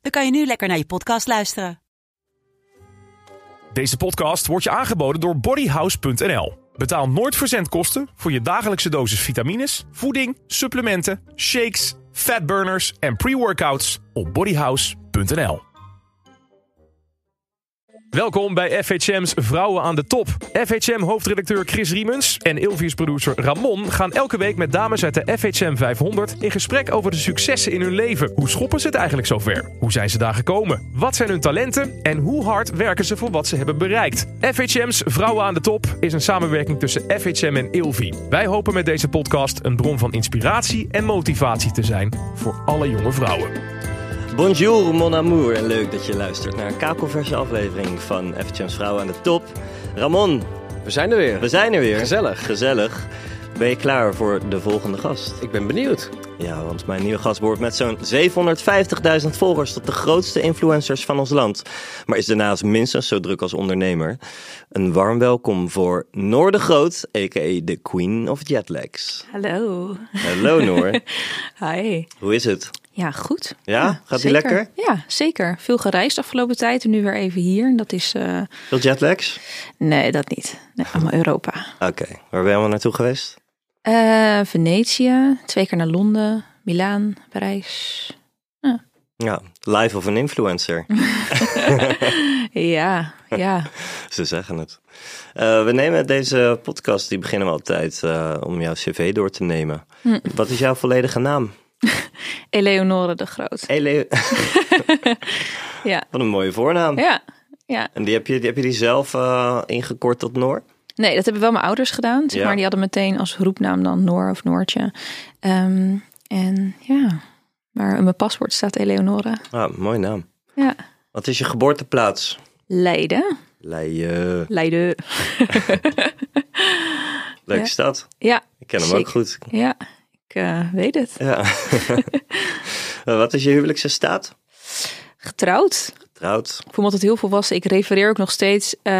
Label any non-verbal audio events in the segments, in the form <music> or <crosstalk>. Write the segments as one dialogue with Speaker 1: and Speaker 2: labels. Speaker 1: dan kan je nu lekker naar je podcast luisteren.
Speaker 2: Deze podcast wordt je aangeboden door bodyhouse.nl. Betaal nooit verzendkosten voor je dagelijkse dosis vitamines, voeding, supplementen, shakes, fatburners en pre-workouts op bodyhouse.nl. Welkom bij FHM's Vrouwen aan de Top. FHM-hoofdredacteur Chris Riemens en Ilvius-producer Ramon gaan elke week met dames uit de FHM 500 in gesprek over de successen in hun leven. Hoe schoppen ze het eigenlijk zover? Hoe zijn ze daar gekomen? Wat zijn hun talenten? En hoe hard werken ze voor wat ze hebben bereikt? FHM's Vrouwen aan de Top is een samenwerking tussen FHM en Ilvi. Wij hopen met deze podcast een bron van inspiratie en motivatie te zijn voor alle jonge vrouwen.
Speaker 3: Bonjour mon amour en leuk dat je luistert naar een kakelverse aflevering van FHM's Vrouwen aan de Top. Ramon,
Speaker 4: We zijn er weer.
Speaker 3: we zijn er weer.
Speaker 4: Gezellig.
Speaker 3: Gezellig. Ben je klaar voor de volgende gast?
Speaker 4: Ik ben benieuwd.
Speaker 5: Oh,
Speaker 3: Ja, want mijn nieuwe gast behoort met zo'n 750.000 volgers tot de grootste influencers van ons land. Maar is daarnaast minstens zo druk als ondernemer. Een warm welkom voor Noor de Groot, a.k.a. de Queen of Jetlags.
Speaker 6: Hallo.
Speaker 3: Hallo Noor,
Speaker 6: Hi.
Speaker 3: hoe is het?
Speaker 6: Ja, goed.
Speaker 3: Ja? Gaat die
Speaker 6: zeker.
Speaker 3: lekker?
Speaker 6: Ja, zeker. Veel gereisd de afgelopen tijd en nu weer even hier. En dat is... eh,
Speaker 3: Veel jetlags?
Speaker 6: nee, dat niet. Nee, allemaal Europa.
Speaker 3: Oké, waar ben je allemaal naartoe geweest?
Speaker 6: Eh, Venetië, twee keer naar Londen, Milaan, Parijs.
Speaker 3: Ja, live of een
Speaker 6: <laughs>
Speaker 3: influencer. <laughs>
Speaker 6: Ja, ja.
Speaker 3: Ze zeggen het. Eh, we nemen deze podcast, die beginnen we altijd eh, om jouw cv door te nemen.
Speaker 6: Hm.
Speaker 3: Wat is jouw volledige naam?
Speaker 6: Eleonore de Groot.
Speaker 3: Ele
Speaker 6: <laughs> Ja.
Speaker 3: Wat een mooie voornaam.
Speaker 6: Ja, ja.
Speaker 3: En die heb, je, die heb je die zelf eh, ingekort tot Noor?
Speaker 6: Nee, dat hebben wel mijn ouders gedaan. Zeg
Speaker 3: Ja.
Speaker 6: Maar die hadden meteen als roepnaam dan Noor of Noortje. Ehm, en ja, maar in mijn paspoort staat Eleonora.
Speaker 3: Ah, mooie naam.
Speaker 6: Ja.
Speaker 3: Wat is je geboorteplaats?
Speaker 6: Leiden.
Speaker 3: Leiden.
Speaker 6: Leiden.
Speaker 3: Leuke
Speaker 6: Ja.
Speaker 3: stad.
Speaker 6: Ja,
Speaker 3: Ik ken hem ook
Speaker 6: Zeker.
Speaker 3: goed.
Speaker 6: ja. Ik eh, weet het. <laughs>
Speaker 3: Ja. Eh, Wat is je huwelijkse staat?
Speaker 6: Getrouwd.
Speaker 3: Getrouwd.
Speaker 6: Ik voel me altijd heel volwassen. Ik refereer ook nog steeds eh,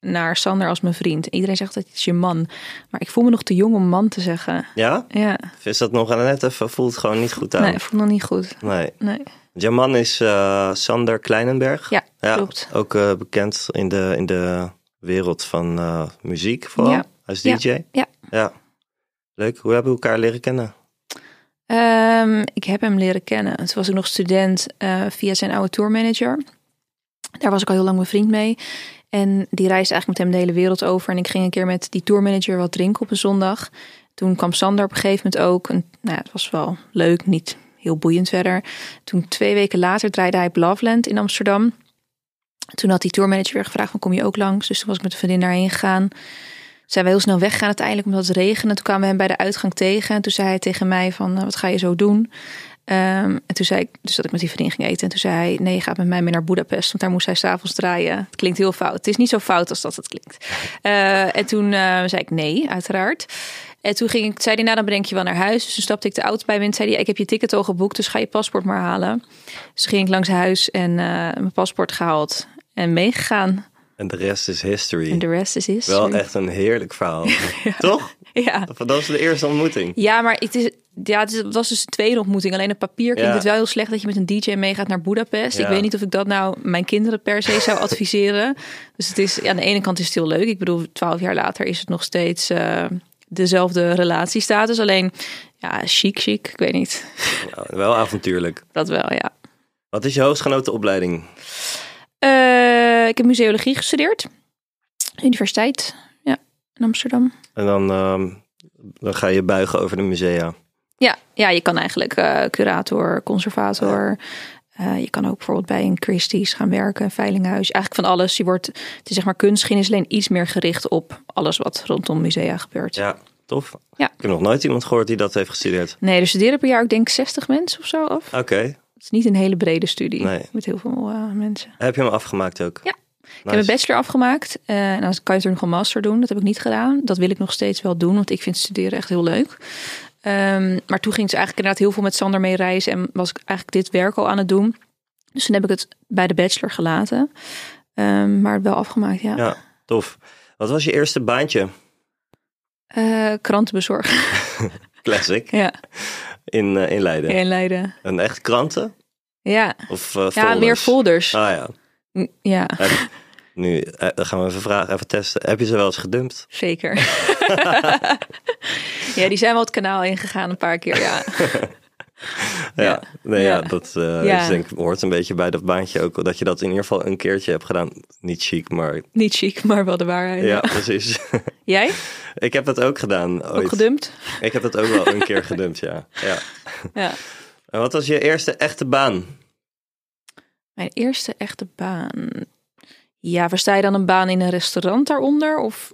Speaker 6: naar Sander als mijn vriend. Iedereen zegt dat is je man. Maar ik voel me nog te jong om man te zeggen.
Speaker 3: Ja?
Speaker 6: Ja,
Speaker 3: Is dat nog net even? Voelt gewoon niet goed aan.
Speaker 6: nee, voel me nog niet goed.
Speaker 3: nee.
Speaker 6: Nee.
Speaker 3: Jouw man is eh, Sander Kleinenberg.
Speaker 6: Ja, klopt.
Speaker 3: Ook eh, bekend in de, in de wereld van eh, muziek vooral.
Speaker 6: Ja.
Speaker 3: Als
Speaker 6: Ja.
Speaker 3: DJ.
Speaker 6: Ja.
Speaker 3: Leuk. Hoe hebben we elkaar leren kennen?
Speaker 6: Ehm, ik heb hem leren kennen. Toen was ik nog student eh, via zijn oude tourmanager. Daar was ik al heel lang mijn vriend mee. En die reisde eigenlijk met hem de hele wereld over. En ik ging een keer met die tourmanager wat drinken op een zondag. Toen kwam Sander op een gegeven moment ook. En, nou, ja, het was wel leuk, niet heel boeiend verder. Toen twee weken later draaide hij op Loveland in Amsterdam. Toen had die tourmanager weer gevraagd van kom je ook langs? Dus toen was ik met een vriendin daarheen gegaan zijn we heel snel weggegaan uiteindelijk omdat het regende. Toen kwamen we hem bij de uitgang tegen. En toen zei hij tegen mij van, eh, wat ga je zo doen? Ehm, en toen zei ik, dus dat ik met die vriendin ging eten. En toen zei hij, nee, je gaat met mij mee naar Boedapest. Want daar moest hij s'avonds draaien. Het klinkt heel fout. Het is niet zo fout als dat het klinkt. Eh, en toen eh, zei ik nee, uiteraard. En toen ging ik, zei hij, nou dan breng ik je wel naar huis. Dus toen stapte ik de auto bij me in. Zei hij, ik heb je ticket al geboekt, dus ga je paspoort maar halen. Dus ging ik langs huis en eh, mijn paspoort gehaald en meegegaan.
Speaker 3: En de rest is history.
Speaker 6: En de rest is history.
Speaker 3: Wel echt een heerlijk verhaal. Toch?
Speaker 6: <laughs> Ja.
Speaker 3: Dat was de eerste ontmoeting.
Speaker 6: Ja, maar het, is, ja, het, is- het was dus de tweede ontmoeting. Alleen op papier klinkt
Speaker 3: Ja.
Speaker 6: het wel heel slecht dat je met een DJ meegaat naar Boedapest.
Speaker 3: Ja.
Speaker 6: Ik weet niet of ik dat nou mijn kinderen per
Speaker 3: <laughs>
Speaker 6: se zou adviseren. Dus het is, ja, aan de ene kant is het heel leuk. Ik bedoel, twaalf jaar later is het nog steeds eh, dezelfde relatiestatus. Alleen, ja, chic, chic. Ik weet niet.
Speaker 3: Nou, wel avontuurlijk.
Speaker 6: Dat wel, ja.
Speaker 3: Wat is je hoogstgenoten opleiding?
Speaker 6: Eh, ik heb museologie gestudeerd. Universiteit, ja, in Amsterdam.
Speaker 3: En dan, ehm, dan ga je buigen over de musea.
Speaker 6: Ja, ja je kan eigenlijk eh, curator, conservator. Eh, je kan ook bijvoorbeeld bij een Christie's gaan werken, een veilinghuis. Eigenlijk van alles. Je wordt, het is zeg maar kunstgeschiedenis alleen iets meer gericht op alles wat rondom musea gebeurt.
Speaker 3: Ja, tof.
Speaker 6: Ja.
Speaker 3: Ik heb nog nooit iemand gehoord die dat heeft gestudeerd.
Speaker 6: Nee, er studeren per jaar ook denk ik 60 mensen of zo af.
Speaker 3: Oké.
Speaker 6: Het is niet een hele brede studie
Speaker 3: Nee.
Speaker 6: met heel veel eh, mensen.
Speaker 3: Heb je hem afgemaakt ook?
Speaker 6: Ja. Ik heb
Speaker 3: Nice.
Speaker 6: mijn bachelor afgemaakt eh, en dan kan je er nog een master doen. Dat heb ik niet gedaan. Dat wil ik nog steeds wel doen, want ik vind studeren echt heel leuk. Ehm, maar toen ging ze eigenlijk inderdaad heel veel met Sander mee reizen en was ik eigenlijk dit werk al aan het doen. Dus toen heb ik het bij de bachelor gelaten, Ehm, maar wel afgemaakt, ja.
Speaker 3: Ja, tof. Wat was je eerste baantje?
Speaker 6: Eh, krantenbezorger <laughs>
Speaker 3: Classic.
Speaker 6: ja,
Speaker 3: In, eh, in Leiden.
Speaker 6: in Leiden.
Speaker 3: Een echt kranten?
Speaker 6: Ja,
Speaker 3: Of
Speaker 6: ja meer
Speaker 3: vol.
Speaker 6: folders.
Speaker 3: Ah ja.
Speaker 6: N- Ja,
Speaker 3: Heb- nu eh, dan gaan we even vragen, even testen. Heb je ze wel eens gedumpt?
Speaker 6: zeker. ja, die zijn wel het kanaal ingegaan een paar keer, ja.
Speaker 3: Ja,
Speaker 6: Ja.
Speaker 3: Nee, ja.
Speaker 6: Ja.
Speaker 3: dat eh,
Speaker 6: Ja.
Speaker 3: is denk ik, hoort een beetje bij dat baantje ook. Dat je dat in ieder geval een keertje hebt gedaan. Niet chic, maar ja,
Speaker 6: Niet chic, maar wel de waarheid. Ja.
Speaker 3: precies. <laughs>
Speaker 6: Jij?
Speaker 3: ik heb dat ook gedaan ooit.
Speaker 6: Ook gedumpt?
Speaker 3: Ik heb dat ook wel een keer gedumpt, ja. ja.
Speaker 6: Ja.
Speaker 3: En wat was je eerste echte baan?
Speaker 6: Mijn eerste echte baan. Ja, versta je dan een baan in een restaurant daaronder? Of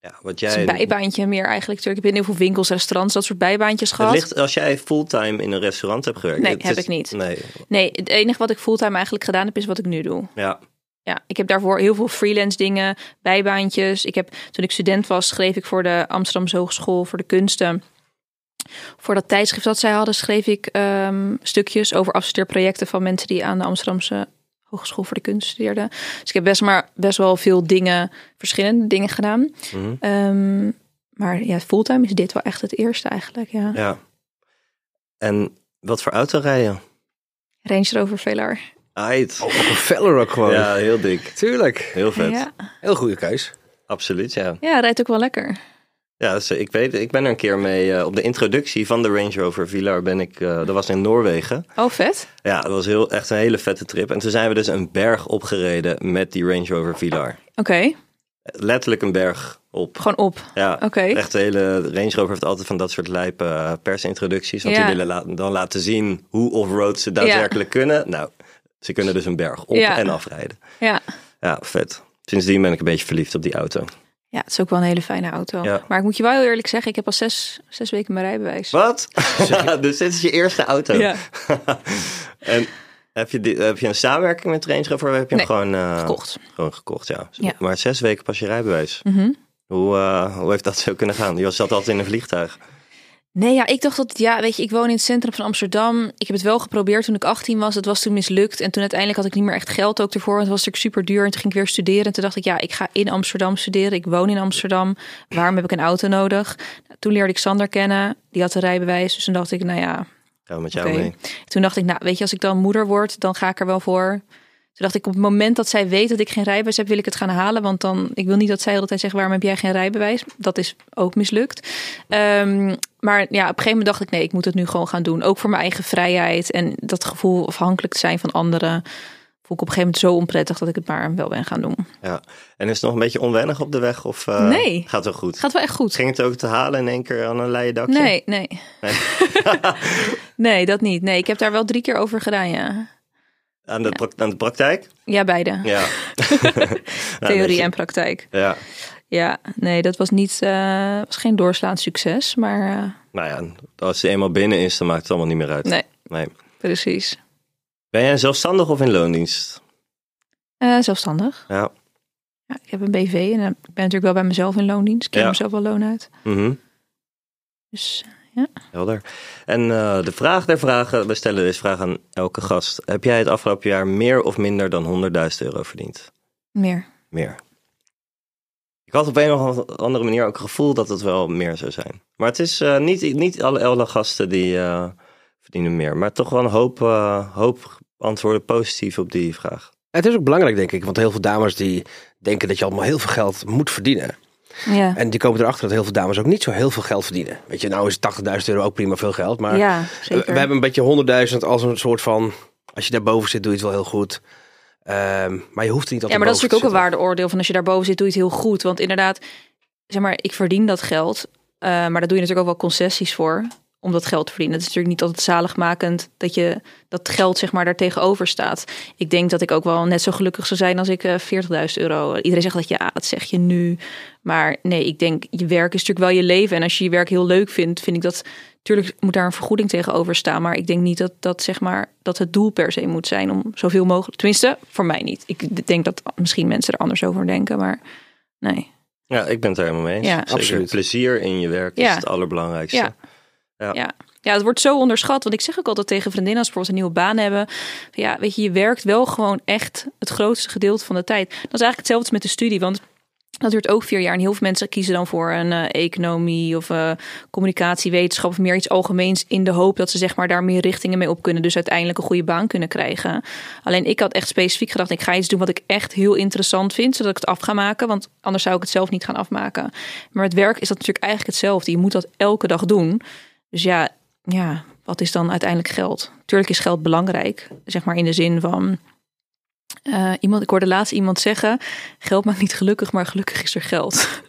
Speaker 3: Ja, wat
Speaker 6: is een
Speaker 3: jij...
Speaker 6: bijbaantje meer eigenlijk? Tuurlijk, ik heb in heel veel winkels, restaurants, dat soort bijbaantjes
Speaker 3: Het
Speaker 6: gehad.
Speaker 3: ligt als jij fulltime in een restaurant hebt gewerkt.
Speaker 6: Nee,
Speaker 3: Het
Speaker 6: heb
Speaker 3: is-
Speaker 6: ik niet.
Speaker 3: Nee,
Speaker 6: Nee, het enige wat ik fulltime eigenlijk gedaan heb, is wat ik nu doe.
Speaker 3: ja.
Speaker 6: Ja, ik heb daarvoor heel veel freelance dingen, bijbaantjes. Ik heb, toen ik student was, schreef ik voor de Amsterdamse Hogeschool voor de Kunsten. Voor dat tijdschrift dat zij hadden, schreef ik ehm, stukjes over afstudeerprojecten van mensen die aan de Amsterdamse Hogeschool voor de Kunsten studeerden. Dus ik heb best, maar, best wel veel dingen, verschillende dingen gedaan.
Speaker 3: Mhm.
Speaker 6: Ehm, maar ja, fulltime is dit wel echt het eerste eigenlijk. Ja.
Speaker 3: ja. En wat voor auto rij je?
Speaker 6: Range Rover Velar.
Speaker 3: Ait.
Speaker 5: Een feller ook gewoon.
Speaker 3: Ja, heel dik.
Speaker 5: Tuurlijk.
Speaker 3: Heel vet.
Speaker 6: Ja.
Speaker 5: Heel goede keus.
Speaker 3: Absoluut, ja.
Speaker 6: ja, rijdt ook wel lekker.
Speaker 3: Ja, dus ik, weet, ik ben er een keer mee eh, op de introductie van de Range Rover Vilar. Ben ik, eh, dat was in Noorwegen.
Speaker 6: Oh, vet.
Speaker 3: Ja, dat was heel, echt een hele vette trip. En toen zijn we dus een berg opgereden met die Range Rover Vilar.
Speaker 6: Oké,
Speaker 3: Letterlijk een berg op.
Speaker 6: gewoon op.
Speaker 3: Ja,
Speaker 6: Oké.
Speaker 3: echt de hele Range Rover heeft altijd van dat soort lijpe eh, persintroducties. Want
Speaker 6: Ja.
Speaker 3: die willen la- dan laten zien hoe off-road ze daadwerkelijk kunnen. Nou, ze kunnen dus een berg op
Speaker 6: Ja.
Speaker 3: en afrijden.
Speaker 6: Ja.
Speaker 3: Ja, vet. Sindsdien ben ik een beetje verliefd op die auto.
Speaker 6: Ja, het is ook wel een hele fijne auto.
Speaker 3: Ja.
Speaker 6: Maar ik moet je wel heel eerlijk zeggen, ik heb al zes, zes weken mijn rijbewijs.
Speaker 3: Wat? <laughs> dus dit is je eerste auto.
Speaker 6: Ja.
Speaker 3: <laughs> en heb je, die- heb je een samenwerking met Range Rover? Of heb je hem
Speaker 6: Nee,
Speaker 3: gewoon eh,
Speaker 6: Gekocht.
Speaker 3: Gewoon gekocht, ja.
Speaker 6: Ja.
Speaker 3: Maar zes weken pas je rijbewijs.
Speaker 6: Mhm.
Speaker 3: Hoe, eh, hoe heeft dat zo kunnen gaan? Je zat altijd in een vliegtuig.
Speaker 6: Nee, ja, ik dacht dat, ja, weet je, ik woon in het centrum van Amsterdam. Ik heb het wel geprobeerd toen ik 18 was. Het was toen mislukt. En toen uiteindelijk had ik niet meer echt geld ook ervoor. Want het was natuurlijk super duur. En toen ging ik weer studeren. En toen dacht ik, ja, ik ga in Amsterdam studeren. Ik woon in Amsterdam. Waarom heb ik een auto nodig? Nou, toen leerde ik Sander kennen. Die had een rijbewijs. Dus toen dacht ik, nou ja,
Speaker 3: Gaan we met jou
Speaker 6: Oké.
Speaker 3: mee.
Speaker 6: Toen dacht ik, nou, weet je, als ik dan moeder word, dan ga ik er wel voor. Toen dacht ik, op het moment dat zij weet dat ik geen rijbewijs heb, wil ik het gaan halen. Want dan, ik wil niet dat zij de hele tijd zegt, waarom heb jij geen rijbewijs? Dat is ook mislukt. Ehm, maar ja, op een gegeven moment dacht ik, nee, ik moet het nu gewoon gaan doen. Ook voor mijn eigen vrijheid en dat gevoel afhankelijk te zijn van anderen. Voel ik op een gegeven moment zo onprettig dat ik het maar wel ben gaan doen.
Speaker 3: Ja. En is het nog een beetje onwennig op de weg? Of, eh,
Speaker 6: Nee.
Speaker 3: Gaat wel goed?
Speaker 6: Het gaat wel echt goed.
Speaker 3: Ging het ook te halen in één keer aan een leien dakje?
Speaker 6: Nee, nee. <laughs> nee, dat niet. Nee, ik heb daar wel drie keer over gedaan, ja.
Speaker 3: Aan de, prak- aan de praktijk?
Speaker 6: Ja, nou, dus- beide. <laughs>
Speaker 3: Ja. <laughs>
Speaker 6: Theorie
Speaker 3: en
Speaker 6: en praktijk.
Speaker 3: Ja.
Speaker 6: Ja, nee, dat was niet, eh, was geen doorslaand succes, maar eh,
Speaker 3: Nou ja, als ze eenmaal binnen is, dan maakt het allemaal niet meer uit.
Speaker 6: nee,
Speaker 3: nee.
Speaker 6: precies.
Speaker 3: Ben jij zelfstandig of in loondienst?
Speaker 6: Eh, zelfstandig.
Speaker 3: Ja.
Speaker 6: Ja, ik heb een BV en eh, ik ben natuurlijk wel bij mezelf in loondienst. Ik ken
Speaker 3: Ja.
Speaker 6: mezelf wel loon uit.
Speaker 3: Mhm.
Speaker 6: Dus
Speaker 3: Helder. En eh, de vraag der vragen, we stellen deze vraag aan elke gast. Heb jij het afgelopen jaar meer of minder dan 100.000 euro verdiend?
Speaker 6: meer.
Speaker 3: Meer. Ik had op een of andere manier ook het gevoel dat het wel meer zou zijn. Maar het is eh, niet, niet alle Elda gasten die eh, verdienen meer. Maar toch wel een hoop, eh, hoop antwoorden positief op die vraag.
Speaker 5: Het is ook belangrijk, denk ik, want heel veel dames die denken dat je allemaal heel veel geld moet verdienen.
Speaker 6: Ja.
Speaker 5: En die komen erachter dat heel veel dames ook niet zo heel veel geld verdienen. Weet je, nou is 80.000 euro ook prima veel geld, maar eh,
Speaker 6: ja,
Speaker 5: we
Speaker 6: zeker.
Speaker 5: hebben een beetje 100.000 als een soort van, als je daarboven zit doe je het wel heel goed. Ehm, maar je hoeft er niet altijd
Speaker 6: ja, maar dat is
Speaker 5: boven
Speaker 6: natuurlijk ook een
Speaker 5: te
Speaker 6: waardeoordeel van als je daarboven zit, doe je het heel goed. Want inderdaad, zeg maar, ik verdien dat geld, eh, maar daar doe je natuurlijk ook wel concessies voor om dat geld te verdienen. Het is natuurlijk niet altijd zaligmakend dat je dat geld zeg maar daar tegenover staat. Ik denk dat ik ook wel net zo gelukkig zou zijn als ik eh, 40.000 euro. Iedereen zegt dat ja, dat zeg je nu. Maar nee, ik denk je werk is natuurlijk wel je leven en als je je werk heel leuk vindt, vind ik dat Tuurlijk moet daar een vergoeding tegenover staan. Maar ik denk niet dat, dat, zeg maar, dat het doel per se moet zijn om zoveel mogelijk. Tenminste, voor mij niet. Ik denk dat misschien mensen er anders over denken. Maar nee.
Speaker 3: Ja, ik ben het er helemaal mee eens.
Speaker 6: Ja.
Speaker 3: Zeker.
Speaker 5: Absoluut.
Speaker 3: Plezier in je werk
Speaker 6: Ja.
Speaker 3: is het allerbelangrijkste.
Speaker 6: Ja.
Speaker 3: Ja.
Speaker 6: Ja. ja. het wordt zo onderschat. Want ik zeg ook altijd tegen vriendinnen als ze bijvoorbeeld een nieuwe baan hebben. van ja, weet je, je werkt wel gewoon echt het grootste gedeelte van de tijd. Dat is eigenlijk hetzelfde met de studie. Want dat duurt ook vier jaar. En heel veel mensen kiezen dan voor een eh, economie of eh, communicatiewetenschap of meer iets algemeens. In de hoop dat ze zeg maar daar meer richtingen mee op kunnen. Dus uiteindelijk een goede baan kunnen krijgen. Alleen ik had echt specifiek gedacht, ik ga iets doen wat ik echt heel interessant vind. Zodat ik het af ga maken. Want anders zou ik het zelf niet gaan afmaken. Maar het werk is dat natuurlijk eigenlijk hetzelfde. Je moet dat elke dag doen. Dus ja, ja, wat is dan uiteindelijk geld? Tuurlijk is geld belangrijk. Zeg maar in de zin van. eh, iemand, ik hoorde laatst iemand zeggen: geld maakt niet gelukkig, maar gelukkig is er geld.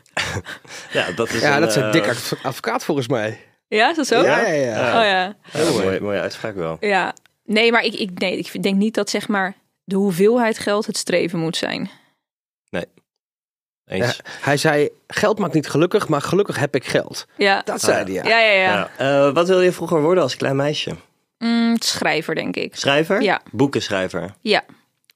Speaker 3: Ja, dat is
Speaker 5: Ja,
Speaker 3: een,
Speaker 5: dat is een
Speaker 3: eh,
Speaker 5: dik adv- advocaat volgens mij.
Speaker 6: Ja, is dat zo?
Speaker 5: Ja, ja, ja.
Speaker 6: Oh ja.
Speaker 3: ja, mooie, mooie uitspraak wel.
Speaker 6: ja. Nee, maar ik, ik, nee, ik denk niet dat zeg maar de hoeveelheid geld het streven moet zijn.
Speaker 3: Eens.
Speaker 5: Ja, Hij zei, geld maakt niet gelukkig, maar gelukkig heb ik geld.
Speaker 6: Ja,
Speaker 5: Dat
Speaker 3: Ah.
Speaker 5: zei hij, ja.
Speaker 6: ja, ja. ja.
Speaker 3: Ja. Eh, wat wilde je vroeger worden als klein meisje?
Speaker 6: Mm, schrijver, denk ik.
Speaker 3: Schrijver?
Speaker 6: Ja.
Speaker 3: Boekenschrijver?
Speaker 6: Ja,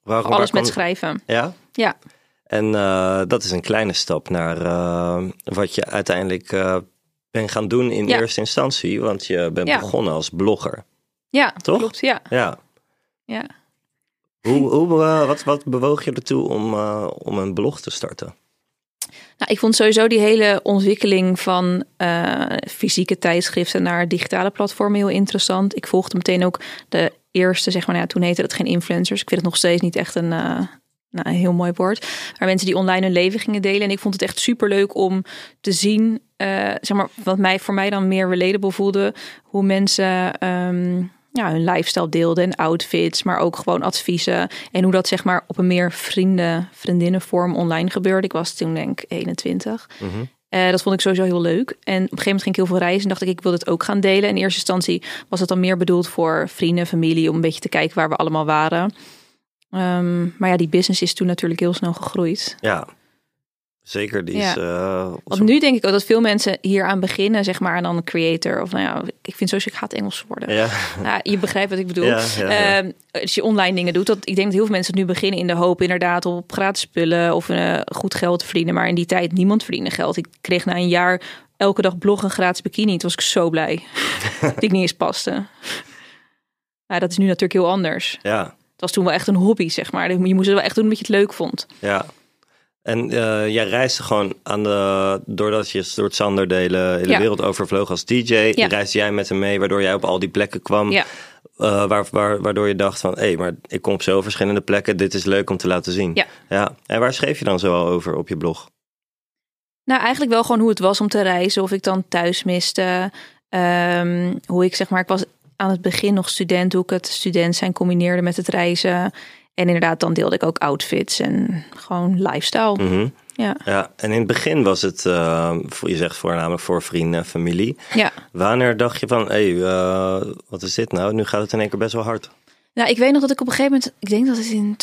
Speaker 3: Waarom,
Speaker 6: alles
Speaker 3: waar
Speaker 6: met
Speaker 3: kwam-
Speaker 6: schrijven.
Speaker 3: Ja?
Speaker 6: Ja.
Speaker 3: En eh, dat is een kleine stap naar eh, wat je uiteindelijk eh bent gaan doen in
Speaker 6: Ja.
Speaker 3: eerste instantie. Want je bent
Speaker 6: Ja.
Speaker 3: begonnen als blogger.
Speaker 6: Ja,
Speaker 3: Toch?
Speaker 6: klopt. Ja,
Speaker 3: Ja.
Speaker 6: ja.
Speaker 3: Hoe, hoe, eh, wat, wat bewoog je ertoe om, eh, om een blog te starten?
Speaker 6: Nou, ik vond sowieso die hele ontwikkeling van eh, fysieke tijdschriften naar digitale platformen heel interessant. Ik volgde meteen ook de eerste, zeg maar, nou ja, toen heette het geen influencers. Ik vind het nog steeds niet echt een, eh, nou, een heel mooi woord. Maar mensen die online hun leven gingen delen. En ik vond het echt superleuk om te zien, eh, zeg maar, wat mij, voor mij dan meer relatable voelde, hoe mensen... ehm, ja, hun lifestyle deelden en outfits, maar ook gewoon adviezen. En hoe dat zeg maar op een meer vrienden, vriendinnenvorm online gebeurde. Ik was toen denk ik 21. Eh, dat vond ik sowieso heel leuk. En op een gegeven moment ging ik heel veel reizen en dacht ik, ik wil dit ook gaan delen. In eerste instantie was het dan meer bedoeld voor vrienden, familie, om een beetje te kijken waar we allemaal waren. Ehm, maar ja, die business is toen natuurlijk heel snel gegroeid.
Speaker 3: Ja. Zeker, die
Speaker 6: Ja.
Speaker 3: is... eh,
Speaker 6: Want nu denk ik ook dat veel mensen hier aan beginnen, zeg maar, en dan een creator. Of nou ja, ik vind sowieso, ik haat Engels worden.
Speaker 3: Ja.
Speaker 6: Ja, je begrijpt wat ik bedoel.
Speaker 3: Ja, ja, ja.
Speaker 6: Ehm, als je online dingen doet, dat, ik denk dat heel veel mensen het nu beginnen in de hoop inderdaad op gratis spullen of eh, goed geld te verdienen. Maar in die tijd niemand verdiende geld. Ik kreeg na een jaar elke dag blog een gratis bikini. Toen was ik
Speaker 3: <laughs>
Speaker 6: zo blij dat ik niet eens paste. Maar dat is nu natuurlijk heel anders.
Speaker 3: ja.
Speaker 6: Het was toen wel echt een hobby, zeg maar. Je moest het wel echt doen omdat je het leuk vond.
Speaker 3: Ja. En eh, jij reisde gewoon aan de, doordat je door het Sander de hele, hele
Speaker 6: Ja.
Speaker 3: wereld overvloog als DJ, reisde jij met hem mee, waardoor jij op al die plekken kwam.
Speaker 6: Ja.
Speaker 3: eh, waar, waar, waardoor je dacht van, hé, maar ik kom op zo verschillende plekken, dit is leuk om te laten zien.
Speaker 6: Ja.
Speaker 3: En waar schreef je dan zoal over op je blog?
Speaker 6: Nou, eigenlijk wel gewoon hoe het was om te reizen. Of ik dan thuis miste. Ehm, hoe ik zeg maar, ik was aan het begin nog student. Hoe ik het student zijn combineerde met het reizen. En inderdaad, dan deelde ik ook outfits en gewoon lifestyle.
Speaker 3: Mhm.
Speaker 6: Ja.
Speaker 3: Ja, en in het begin was het, eh, voor- je zegt voornamelijk voor vrienden en familie.
Speaker 6: ja.
Speaker 3: Wanneer dacht je van, hé, eh, wat is dit nou? Nu gaat het in één keer best wel hard.
Speaker 6: Nou, ik weet nog dat ik op een gegeven moment, ik denk dat het in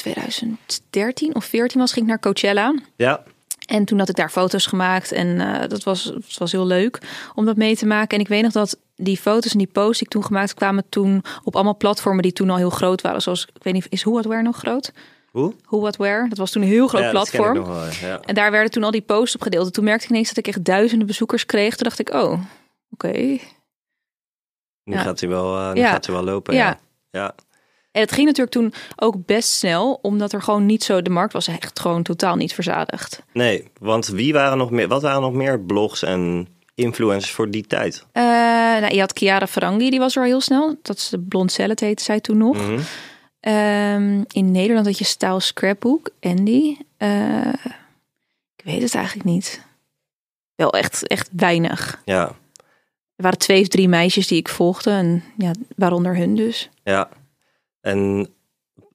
Speaker 6: 2013 of 14 was, ging ik naar Coachella.
Speaker 3: Ja,
Speaker 6: En toen had ik daar foto's gemaakt en eh, dat, was, dat was heel leuk om dat mee te maken. En ik weet nog dat die foto's en die posts die ik toen gemaakt kwamen toen op allemaal platformen die toen al heel groot waren. Zoals, ik weet niet, is Who What Wear nog groot?
Speaker 3: hoe?
Speaker 6: Who What Wear, dat was toen een heel groot
Speaker 3: Ja, dat ken ik
Speaker 6: platform.
Speaker 3: nog wel, ja.
Speaker 6: En daar werden toen al die posts op gedeeld. En toen merkte ik ineens dat ik echt duizenden bezoekers kreeg. Toen dacht ik, oh, oké.
Speaker 3: Nu,
Speaker 6: Ja.
Speaker 3: Gaat, hij wel, eh, nu
Speaker 6: Ja.
Speaker 3: gaat hij wel lopen.
Speaker 6: Ja.
Speaker 3: Ja. Ja.
Speaker 6: En het ging natuurlijk toen ook best snel, omdat er gewoon niet zo, de markt was echt gewoon totaal niet verzadigd.
Speaker 3: Nee, want wie waren nog meer, wat waren nog meer blogs en influencers voor die tijd?
Speaker 6: Eh, nou, je had Chiara Ferrangi, die was er al heel snel. Dat is de blond cellet, heette zij toen nog.
Speaker 3: Mhm.
Speaker 6: Ehm, in Nederland had je Style Scrapbook, Andy. Eh, ik weet het eigenlijk niet. Wel echt, echt weinig.
Speaker 3: Ja,
Speaker 6: Er waren twee of drie meisjes die ik volgde. En ja, waaronder hun dus.
Speaker 3: ja. En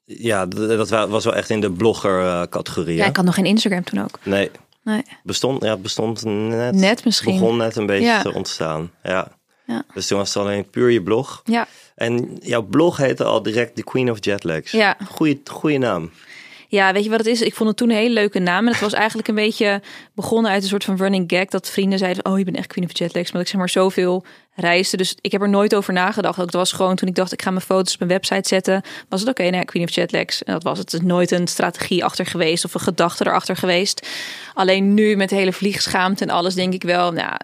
Speaker 3: ja, d- dat wa- was wel echt in de blogger-categorie.
Speaker 6: Ja, ik had nog geen Instagram toen ook.
Speaker 3: Nee,
Speaker 6: Nee.
Speaker 3: bestond, ja, bestond net.
Speaker 6: Net misschien.
Speaker 3: Begon net een beetje
Speaker 6: Ja.
Speaker 3: te ontstaan. Ja.
Speaker 6: Ja.
Speaker 3: Dus toen was het alleen puur je blog.
Speaker 6: Ja.
Speaker 3: En jouw blog heette al direct The Queen of Jetlags.
Speaker 6: Ja.
Speaker 3: Goeie, goeie naam.
Speaker 6: Ja, weet je wat het is? Ik vond het toen een hele leuke naam. En het was eigenlijk een beetje begonnen uit een soort van running gag. Dat vrienden zeiden, oh, je bent echt Queen of Jetlags. Maar ik zeg maar zoveel reisde. Dus ik heb er nooit over nagedacht. Ook dat was gewoon toen ik dacht, ik ga mijn foto's op mijn website zetten. Was het oké, nou ja, Queen of Jetlags. En dat was het. Er is nooit een strategie achter geweest of een gedachte erachter geweest. Alleen nu met de hele vliegschaamte en alles denk ik wel, nou,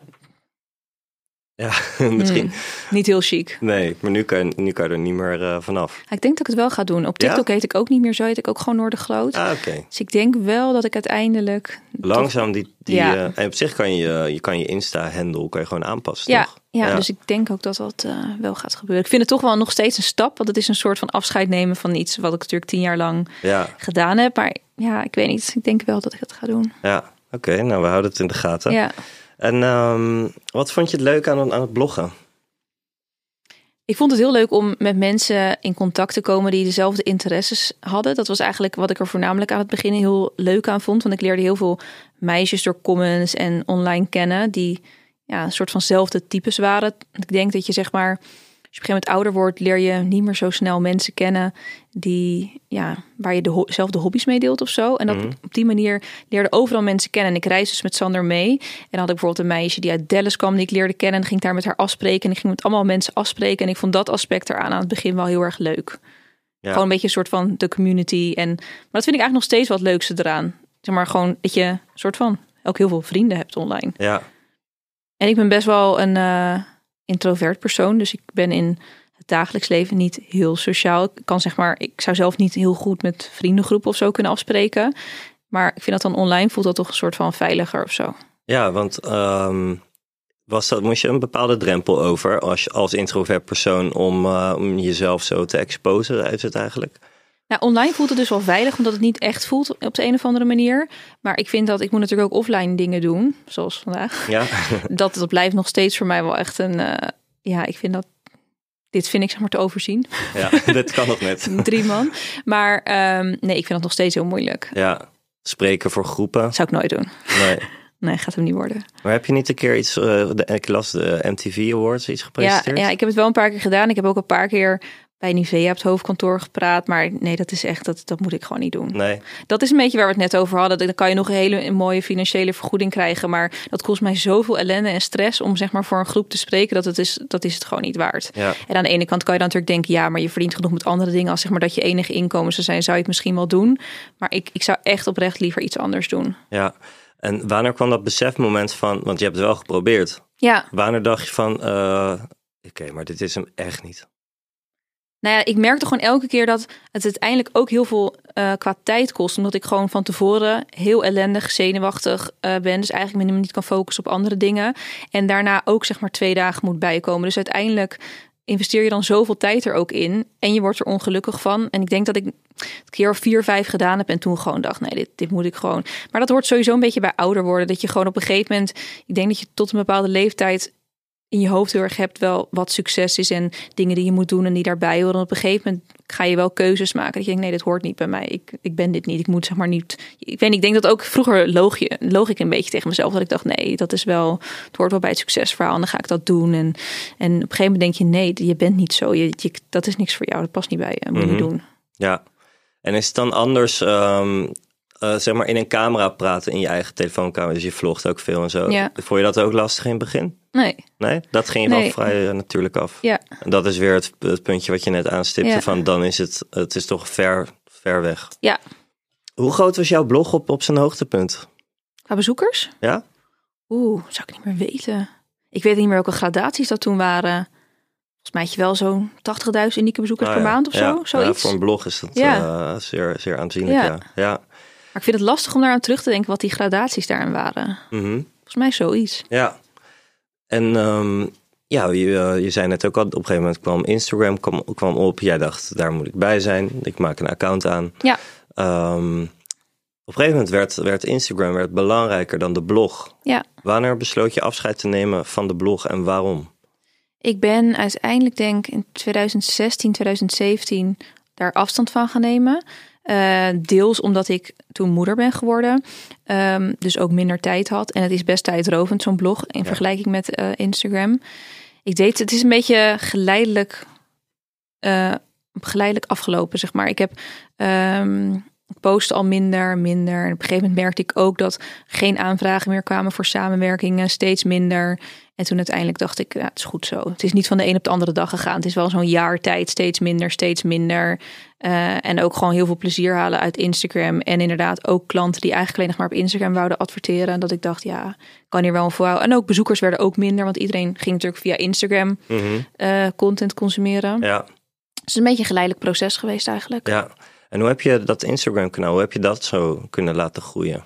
Speaker 3: Ja, <laughs> misschien.
Speaker 6: Hmm. niet heel chic.
Speaker 3: Nee, maar nu kan, nu kan je er niet meer eh, vanaf.
Speaker 6: Ik denk dat ik het wel ga doen. Op
Speaker 3: Ja?
Speaker 6: TikTok heet ik ook niet meer zo, heet ik ook gewoon Noordergloot.
Speaker 3: Ah, oké.
Speaker 6: Dus ik denk wel dat ik uiteindelijk...
Speaker 3: Langzaam die... die
Speaker 6: Ja.
Speaker 3: eh, en op zich kan je je kan je Insta-handle kan je gewoon aanpassen,
Speaker 6: Ja,
Speaker 3: toch?
Speaker 6: ja, dus ik denk ook dat dat eh, wel gaat gebeuren. Ik vind het toch wel nog steeds een stap, want het is een soort van afscheid nemen van iets wat ik natuurlijk tien jaar lang
Speaker 3: Ja,
Speaker 6: gedaan heb. Maar ja, ik weet niet. Ik denk wel dat ik dat ga doen.
Speaker 3: ja. Oké, nou, we houden het in de gaten.
Speaker 6: Ja.
Speaker 3: En ehm, wat vond je het leuk aan, aan het bloggen?
Speaker 6: Ik vond het heel leuk om met mensen in contact te komen die dezelfde interesses hadden. Dat was eigenlijk wat ik er voornamelijk aan het begin heel leuk aan vond. Want ik leerde heel veel meisjes door comments en online kennen die ja, een soort vanzelfde types waren. Ik denk dat je zeg maar, als je op een gegeven moment ouder wordt, leer je eh, niet meer zo snel mensen kennen die, ja, waar je de ho- zelfde hobby's mee deelt of zo. En dat, op die manier leerde overal mensen kennen. En ik reis dus met Sander mee. En dan had ik bijvoorbeeld een meisje die uit Dallas kwam, die ik leerde kennen. En dan ging ik daar met haar afspreken. En ik ging met allemaal mensen afspreken. En ik vond dat aspect eraan aan het begin wel heel erg leuk.
Speaker 3: Ja.
Speaker 6: Gewoon een beetje een soort van de community. En, maar dat vind ik eigenlijk nog steeds wat leukste eraan. Zeg maar gewoon dat je een soort van ook heel veel vrienden hebt online.
Speaker 3: Ja,
Speaker 6: En ik ben best wel een eh, introvert persoon. Dus ik ben in het dagelijks leven niet heel sociaal. Ik kan zeg maar, ik zou zelf niet heel goed met vriendengroepen of zo kunnen afspreken. Maar ik vind dat dan online voelt dat toch een soort van veiliger of zo.
Speaker 3: ja want ehm, was dat, moest je een bepaalde drempel over als, je- als introvert persoon om, eh, om jezelf zo te exposen, uit het eigenlijk?
Speaker 6: Nou, online voelt het dus wel veilig, omdat het niet echt voelt op de een of andere manier. Maar ik vind dat ik moet natuurlijk ook offline dingen doen, zoals
Speaker 3: <laughs>
Speaker 6: vandaag.
Speaker 3: Ja,
Speaker 6: Dat, dat blijft nog steeds voor mij wel echt een. eh, ja, ik vind dat. Dit vind ik zeg maar te overzien. <laughs>
Speaker 3: ja <laughs> dit kan nog net.
Speaker 6: Drie man. Maar ehm, nee, ik vind dat nog steeds heel moeilijk.
Speaker 3: Ja, spreken voor groepen.
Speaker 6: zou ik nooit doen.
Speaker 3: Nee.
Speaker 6: Nee, gaat hem niet worden.
Speaker 3: Maar heb je niet een keer iets, eh, de, ik las de MTV Awards, iets
Speaker 6: Ja,
Speaker 3: gepresenteerd?
Speaker 6: ja, ik heb het wel een paar keer gedaan. Ik heb ook een paar keer bij Nivea op het hoofdkantoor gepraat. Maar nee, dat is echt, dat, dat moet ik gewoon niet doen.
Speaker 3: Nee,
Speaker 6: Dat is een beetje waar we het net over hadden. Dan kan je nog een hele mooie financiële vergoeding krijgen. Maar dat kost mij zoveel ellende en stress om zeg maar voor een groep te spreken. Dat, het is, dat is het gewoon niet waard.
Speaker 3: ja.
Speaker 6: En aan de ene kant kan je dan natuurlijk denken, ja, maar je verdient genoeg met andere dingen. Als zeg maar dat je enige inkomen zou zijn, zou je het misschien wel doen. Maar ik, ik zou echt oprecht liever iets anders doen.
Speaker 3: Ja, en wanneer kwam dat besefmoment van, want je hebt het wel geprobeerd.
Speaker 6: Ja,
Speaker 3: Wanneer dacht je van, eh, oké, maar dit is hem echt niet.
Speaker 6: Nou ja, ik merkte gewoon elke keer dat het uiteindelijk ook heel veel eh, qua tijd kost. Omdat ik gewoon van tevoren heel ellendig, zenuwachtig eh, ben. Dus eigenlijk me helemaal niet kan focussen op andere dingen. En daarna ook zeg maar twee dagen moet bijkomen. Dus uiteindelijk investeer je dan zoveel tijd er ook in. En je wordt er ongelukkig van. En ik denk dat ik het keer of vier, vijf gedaan heb. En toen gewoon dacht, nee, dit, dit moet ik gewoon. Maar dat hoort sowieso een beetje bij ouder worden. Dat je gewoon op een gegeven moment, ik denk dat je tot een bepaalde leeftijd in je hoofd heel erg hebt wel wat succes is en dingen die je moet doen en die daarbij horen. Op een gegeven moment ga je wel keuzes maken. Dat je denkt, nee, dit hoort niet bij mij. Ik, ik ben dit niet. Ik moet zeg maar niet. Ik weet, niet, ik denk dat ook vroeger loog, je, loog ik een beetje tegen mezelf. Dat ik dacht, nee, dat is wel. Het hoort wel bij het succesverhaal. En dan ga ik dat doen. En, en op een gegeven moment denk je, nee, je bent niet zo. Je, je- dat is niks voor jou. Dat past niet bij je. Dat moet je
Speaker 3: Mhm.
Speaker 6: doen.
Speaker 3: Ja, en is het dan anders, ehm, eh, zeg maar, in een camera praten in je eigen telefoonkamer? Dus je vlogt ook veel en zo.
Speaker 6: Ja.
Speaker 3: Vond je dat ook lastig in het begin?
Speaker 6: Nee.
Speaker 3: Nee, dat ging je wel
Speaker 6: Nee.
Speaker 3: vrij eh, natuurlijk af.
Speaker 6: Ja.
Speaker 3: En dat is weer het, het puntje wat je net aanstipte
Speaker 6: Ja.
Speaker 3: van, dan is het, het is toch ver, ver weg.
Speaker 6: Ja.
Speaker 3: Hoe groot was jouw blog op, op zijn hoogtepunt?
Speaker 6: Qua bezoekers?
Speaker 3: Ja?
Speaker 6: Oeh, zou ik niet meer weten. Ik weet niet meer welke gradaties dat toen waren. Volgens mij had je wel zo'n 80.000 unieke bezoekers
Speaker 3: Ah,
Speaker 6: per
Speaker 3: ja.
Speaker 6: maand of
Speaker 3: Ja.
Speaker 6: zo. Zoiets.
Speaker 3: Ja, voor een blog is dat
Speaker 6: Ja.
Speaker 3: eh, zeer, zeer aanzienlijk,
Speaker 6: Ja.
Speaker 3: ja. ja.
Speaker 6: Maar ik vind het lastig om daaraan terug te denken wat die gradaties daarin waren.
Speaker 3: Mhm.
Speaker 6: Volgens mij zoiets.
Speaker 3: Ja. En ehm, ja, je, eh, je zei net ook al, op een gegeven moment kwam Instagram kwam, kwam op. Jij dacht, daar moet ik bij zijn. Ik maak een account aan.
Speaker 6: Ja.
Speaker 3: Ehm, op een gegeven moment werd, werd Instagram werd belangrijker dan de blog.
Speaker 6: Ja.
Speaker 3: Wanneer besloot je afscheid te nemen van de blog en waarom?
Speaker 6: Ik ben uiteindelijk denk in 2016, 2017 daar afstand van gaan nemen. Eh, deels omdat ik toen moeder ben geworden. ehm, dus ook minder tijd had. En het is best tijdrovend, zo'n blog, in vergelijking met eh, Instagram. Ik deed, het is een beetje geleidelijk, eh, geleidelijk afgelopen, zeg maar. Ik heb ehm, Ik post al minder, minder. En op een gegeven moment merkte ik ook dat geen aanvragen meer kwamen voor samenwerkingen, steeds minder. En toen uiteindelijk dacht ik, nou, het is goed zo. Het is niet van de een op de andere dag gegaan. Het is wel zo'n jaar tijd, steeds minder, steeds minder. Eh, en ook gewoon heel veel plezier halen uit Instagram. En inderdaad ook klanten die eigenlijk alleen nog maar op Instagram wouden adverteren. En dat ik dacht, ja, kan hier wel een voorhouden. En ook bezoekers werden ook minder, want iedereen ging natuurlijk via Instagram
Speaker 3: Mhm.
Speaker 6: eh, content consumeren.
Speaker 3: Ja,
Speaker 6: Het is een beetje een geleidelijk proces geweest eigenlijk.
Speaker 3: ja. En hoe heb je dat Instagram-kanaal, hoe heb je dat zo kunnen laten groeien?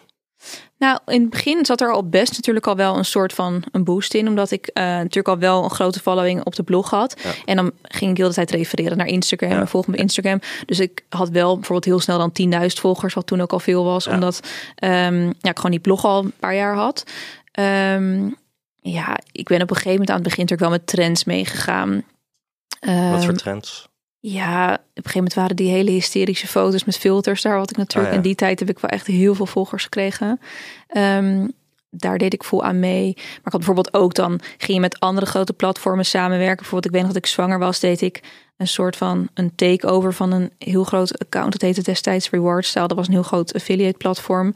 Speaker 6: Nou, in het begin zat er al best natuurlijk al wel een soort van een boost in. Omdat ik eh, natuurlijk al wel een grote following op de blog had. En dan ging ik de hele tijd refereren naar Instagram en volg me op Instagram. Dus ik had wel bijvoorbeeld heel snel dan 10.000 volgers, wat toen ook al veel was. Omdat ehm, ja, ik gewoon die blog al een paar jaar had. Ehm, ja, ik ben op een gegeven moment aan het begin natuurlijk wel met trends meegegaan.
Speaker 3: Wat
Speaker 6: Ehm,
Speaker 3: voor trends?
Speaker 6: Ja, op een gegeven moment waren die hele hysterische foto's met filters. Daar had ik natuurlijk
Speaker 3: Ah, ja.
Speaker 6: in die tijd heb ik wel echt heel veel volgers gekregen. Ehm, daar deed ik vol aan mee. Maar ik had bijvoorbeeld ook dan ging je met andere grote platformen samenwerken. Bijvoorbeeld, ik weet nog dat ik zwanger was, deed ik een soort van een takeover van een heel groot account. Dat heette destijds Rewardstyle. Dat was een heel groot affiliate platform.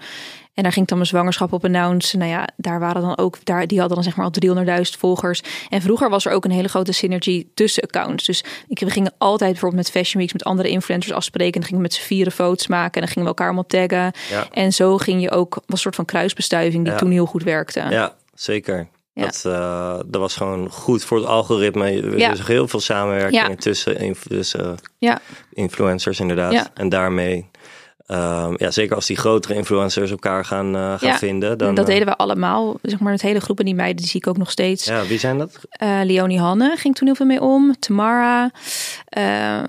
Speaker 6: En daar ging ik dan mijn zwangerschap op announcen. Nou ja, daar waren dan ook, daar, die hadden dan zeg maar al 300.000 volgers. En vroeger was er ook een hele grote synergie tussen accounts. Dus ik, we gingen altijd bijvoorbeeld met Fashion Weeks met andere influencers afspreken. En dan gingen we met z'n vieren foto's maken. En dan gingen we elkaar allemaal taggen.
Speaker 3: Ja.
Speaker 6: En zo ging je ook, was een soort van kruisbestuiving die
Speaker 3: Ja.
Speaker 6: toen heel goed werkte.
Speaker 3: Ja, zeker.
Speaker 6: Ja.
Speaker 3: Dat, eh, dat was gewoon goed voor het algoritme. Er
Speaker 6: Ja.
Speaker 3: is heel veel samenwerking
Speaker 6: Ja.
Speaker 3: tussen, inf- tussen
Speaker 6: ja.
Speaker 3: influencers inderdaad.
Speaker 6: Ja.
Speaker 3: En daarmee, ehm, ja, zeker als die grotere influencers elkaar gaan, eh, gaan
Speaker 6: Ja,
Speaker 3: vinden. Dan,
Speaker 6: dat
Speaker 3: eh,
Speaker 6: deden we allemaal. Zeg maar, het hele groep en die meiden, die zie ik ook nog steeds.
Speaker 3: Ja, wie zijn dat?
Speaker 6: Eh, Leonie Hanne ging toen heel veel mee om. Tamara. eh, eh,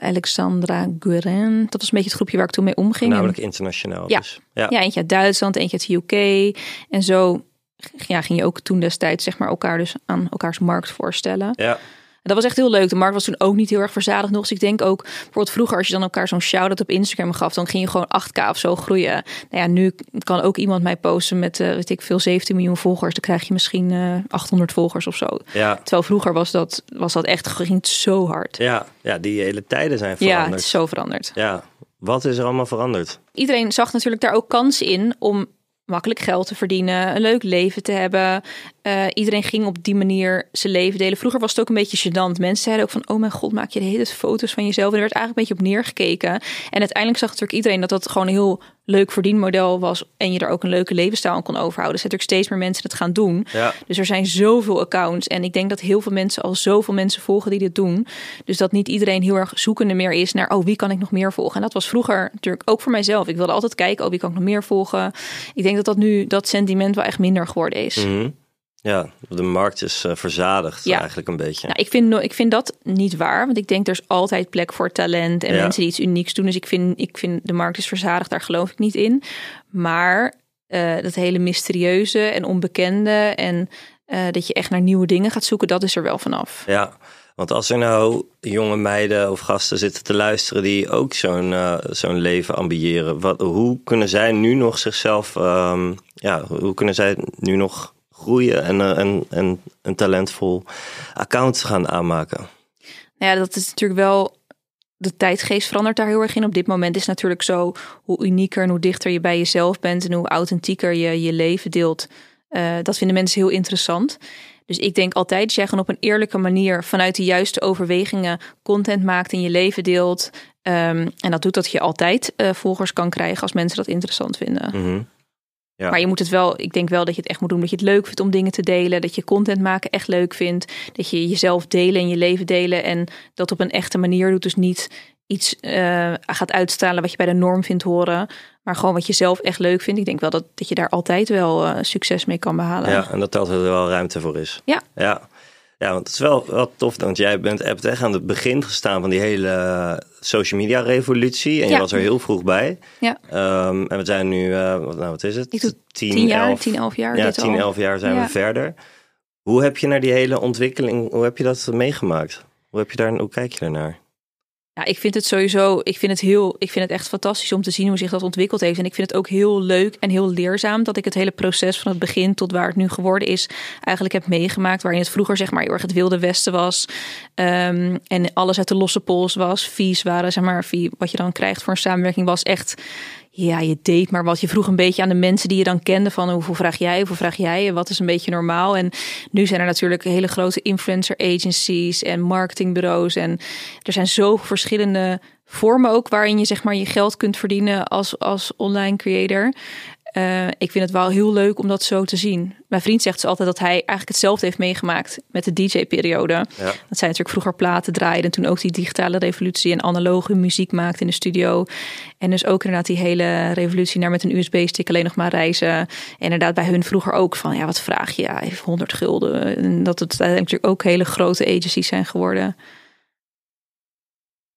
Speaker 6: Alexandra Guerin. Dat was een beetje het groepje waar ik toen mee omging. En-
Speaker 3: Namelijk internationaal.
Speaker 6: Ja.
Speaker 3: Dus, ja.
Speaker 6: ja, eentje uit Duitsland, eentje uit de UK. En zo g- ja, ging je ook toen destijds zeg maar, elkaar dus aan elkaars markt voorstellen.
Speaker 3: Ja.
Speaker 6: En dat was echt heel leuk. De markt was toen ook niet heel erg verzadigd nog. Dus ik denk ook, bijvoorbeeld vroeger als je dan elkaar zo'n shout-out op Instagram gaf... dan ging je gewoon 8k of zo groeien. Nou ja, nu kan ook iemand mij posten met, eh, weet ik veel, 17 miljoen volgers. Dan krijg je misschien eh, 800 volgers of zo.
Speaker 3: Ja.
Speaker 6: Terwijl vroeger was dat, was dat echt, ging het zo hard.
Speaker 3: Ja. ja, die hele tijden zijn
Speaker 6: Ja, het
Speaker 3: veranderd.
Speaker 6: is zo veranderd.
Speaker 3: Ja. wat is er allemaal veranderd?
Speaker 6: iedereen zag natuurlijk daar ook kans in om makkelijk geld te verdienen, een leuk leven te hebben. Eh, iedereen ging op die manier zijn leven delen. Vroeger was het ook een beetje gênant. Mensen zeiden ook van, oh mijn god, maak je de hele tijd foto's van jezelf. En er werd eigenlijk een beetje op neergekeken. En uiteindelijk zag natuurlijk iedereen dat dat gewoon een heel leuk verdienmodel was. En je er ook een leuke levensstijl aan kon overhouden. Dus natuurlijk steeds meer mensen het gaan doen.
Speaker 3: Ja.
Speaker 6: Dus er zijn zoveel accounts. En ik denk dat heel veel mensen al zoveel mensen volgen die dit doen. Dus dat niet iedereen heel erg zoekende meer is naar, oh, wie kan ik nog meer volgen? En dat was vroeger natuurlijk ook voor mijzelf. Ik wilde altijd kijken, oh, wie kan ik nog meer volgen? Ik denk dat dat nu, dat sentiment wel echt minder geworden is.
Speaker 3: Mhm. Ja, de markt is eh, verzadigd
Speaker 6: Ja.
Speaker 3: eigenlijk een beetje.
Speaker 6: Nou, ik vind, no- ik vind dat niet waar, want ik denk er is altijd plek voor talent en
Speaker 3: Ja.
Speaker 6: mensen die iets unieks doen. Dus ik vind, ik vind de markt is verzadigd, daar geloof ik niet in. Maar eh, dat hele mysterieuze en onbekende en eh, dat je echt naar nieuwe dingen gaat zoeken, dat is er wel vanaf.
Speaker 3: Ja, want als er nou jonge meiden of gasten zitten te luisteren die ook zo'n eh, zo'n leven ambiëren, wat, hoe kunnen zij nu nog zichzelf, ehm, ja, hoe kunnen zij nu nog groeien en, eh, en, en een talentvol account gaan aanmaken?
Speaker 6: Nou ja, dat is natuurlijk wel. De tijdgeest verandert daar heel erg in. Op dit moment is natuurlijk zo hoe unieker en hoe dichter je bij jezelf bent en hoe authentieker je je leven deelt. eh, dat vinden mensen heel interessant. Dus ik denk altijd dat jij gewoon op een eerlijke manier vanuit de juiste overwegingen content maakt in je leven deelt. Ehm, en dat doet dat je altijd eh, volgers kan krijgen als mensen dat interessant vinden.
Speaker 3: Mhm. Ja.
Speaker 6: Maar je moet het wel, ik denk wel dat je het echt moet doen. Dat je het leuk vindt om dingen te delen. Dat je content maken echt leuk vindt. Dat je jezelf delen en je leven delen. En dat op een echte manier doet. Dus niet iets eh, gaat uitstralen wat je bij de norm vindt horen. Maar gewoon wat je zelf echt leuk vindt. Ik denk wel dat, dat je daar altijd wel eh, succes mee kan behalen.
Speaker 3: Ja, en dat er altijd wel ruimte voor is.
Speaker 6: Ja.
Speaker 3: Ja, ja want het is wel, wel tof, want jij bent hebt echt aan het begin gestaan van die hele eh, social media revolutie. En je
Speaker 6: Ja.
Speaker 3: was er heel vroeg bij.
Speaker 6: Ja.
Speaker 3: Ehm, en we zijn nu, eh, wat, nou, wat is het?
Speaker 6: Ik doe
Speaker 3: 10,
Speaker 6: tien jaar,
Speaker 3: 11.
Speaker 6: tien, elf jaar.
Speaker 3: Ja,
Speaker 6: dit
Speaker 3: 10,
Speaker 6: al.
Speaker 3: 11 jaar zijn
Speaker 6: Ja.
Speaker 3: we verder. Hoe heb je naar die hele ontwikkeling, hoe heb je dat meegemaakt? Hoe, heb je daar, hoe kijk je daarnaar?
Speaker 6: Ja, ik vind het sowieso, ik vind het heel, ik vind het echt fantastisch om te zien hoe zich dat ontwikkeld heeft. En ik vind het ook heel leuk en heel leerzaam dat ik het hele proces van het begin tot waar het nu geworden is, eigenlijk heb meegemaakt. Waarin het vroeger, zeg maar, heel erg het wilde westen was. ehm, en alles uit de losse pols was. Vies waren, zeg maar, vie- wat je dan krijgt voor een samenwerking was echt. Ja, je deed maar wat. Je vroeg een beetje aan de mensen die je dan kende van hoeveel vraag jij, hoeveel vraag jij en wat is een beetje normaal. En nu zijn er natuurlijk hele grote influencer agencies en marketingbureaus. En er zijn zoveel verschillende vormen ook waarin je zeg maar je geld kunt verdienen als, als online creator. Eh, ik vind het wel heel leuk om dat zo te zien. Mijn vriend zegt ze altijd dat hij eigenlijk hetzelfde heeft meegemaakt met de DJ-periode. Dat zij natuurlijk vroeger platen draaiden. En toen ook die digitale revolutie en analoge muziek maakte in de studio. En dus ook inderdaad die hele revolutie naar met een USB-stick alleen nog maar reizen. En inderdaad bij hun vroeger ook van ja, wat vraag je? Ja, even 100 gulden. En dat het uiteindelijk natuurlijk ook hele grote agencies zijn geworden.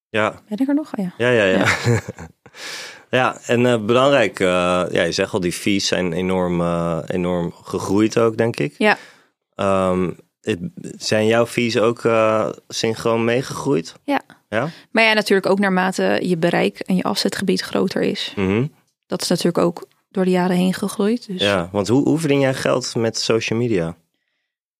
Speaker 3: Ja,
Speaker 6: Ben ik er nog? Oh, ja.
Speaker 3: Ja, ja, ja. <laughs> Ja, en eh, belangrijk, eh, ja, je zegt al, die fees zijn enorm, eh, enorm gegroeid ook, denk ik.
Speaker 6: Ja.
Speaker 3: Ehm, het, zijn jouw fees ook eh, synchroon meegegroeid?
Speaker 6: Ja.
Speaker 3: Ja?
Speaker 6: Maar ja, natuurlijk ook naarmate je bereik en je afzetgebied groter is.
Speaker 3: Mhm.
Speaker 6: Dat is natuurlijk ook door de jaren heen gegroeid. Dus.
Speaker 3: ja, want hoe, hoe verdien jij geld met social media?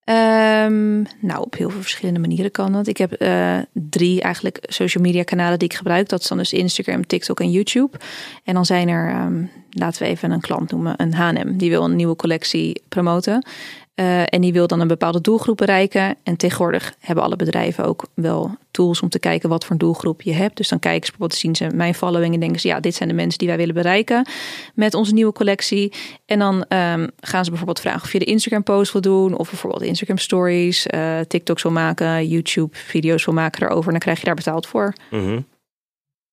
Speaker 6: Ehm, nou, op heel veel verschillende manieren kan dat. Ik heb eh, drie eigenlijk social media kanalen die ik gebruik. Dat is dan dus Instagram, TikTok en YouTube. En dan zijn er, ehm, laten we even een klant noemen, een H&M. Die wil een nieuwe collectie promoten. Eh, en die wil dan een bepaalde doelgroep bereiken. En tegenwoordig hebben alle bedrijven ook wel tools om te kijken wat voor doelgroep je hebt. Dus dan kijken ze bijvoorbeeld, zien ze mijn following en denken ze, ja, dit zijn de mensen die wij willen bereiken met onze nieuwe collectie. En dan ehm, gaan ze bijvoorbeeld vragen of je de Instagram post wil doen, of bijvoorbeeld Instagram stories, eh, TikToks wil maken, YouTube video's wil maken erover. En dan krijg je daar betaald voor.
Speaker 3: Mhm.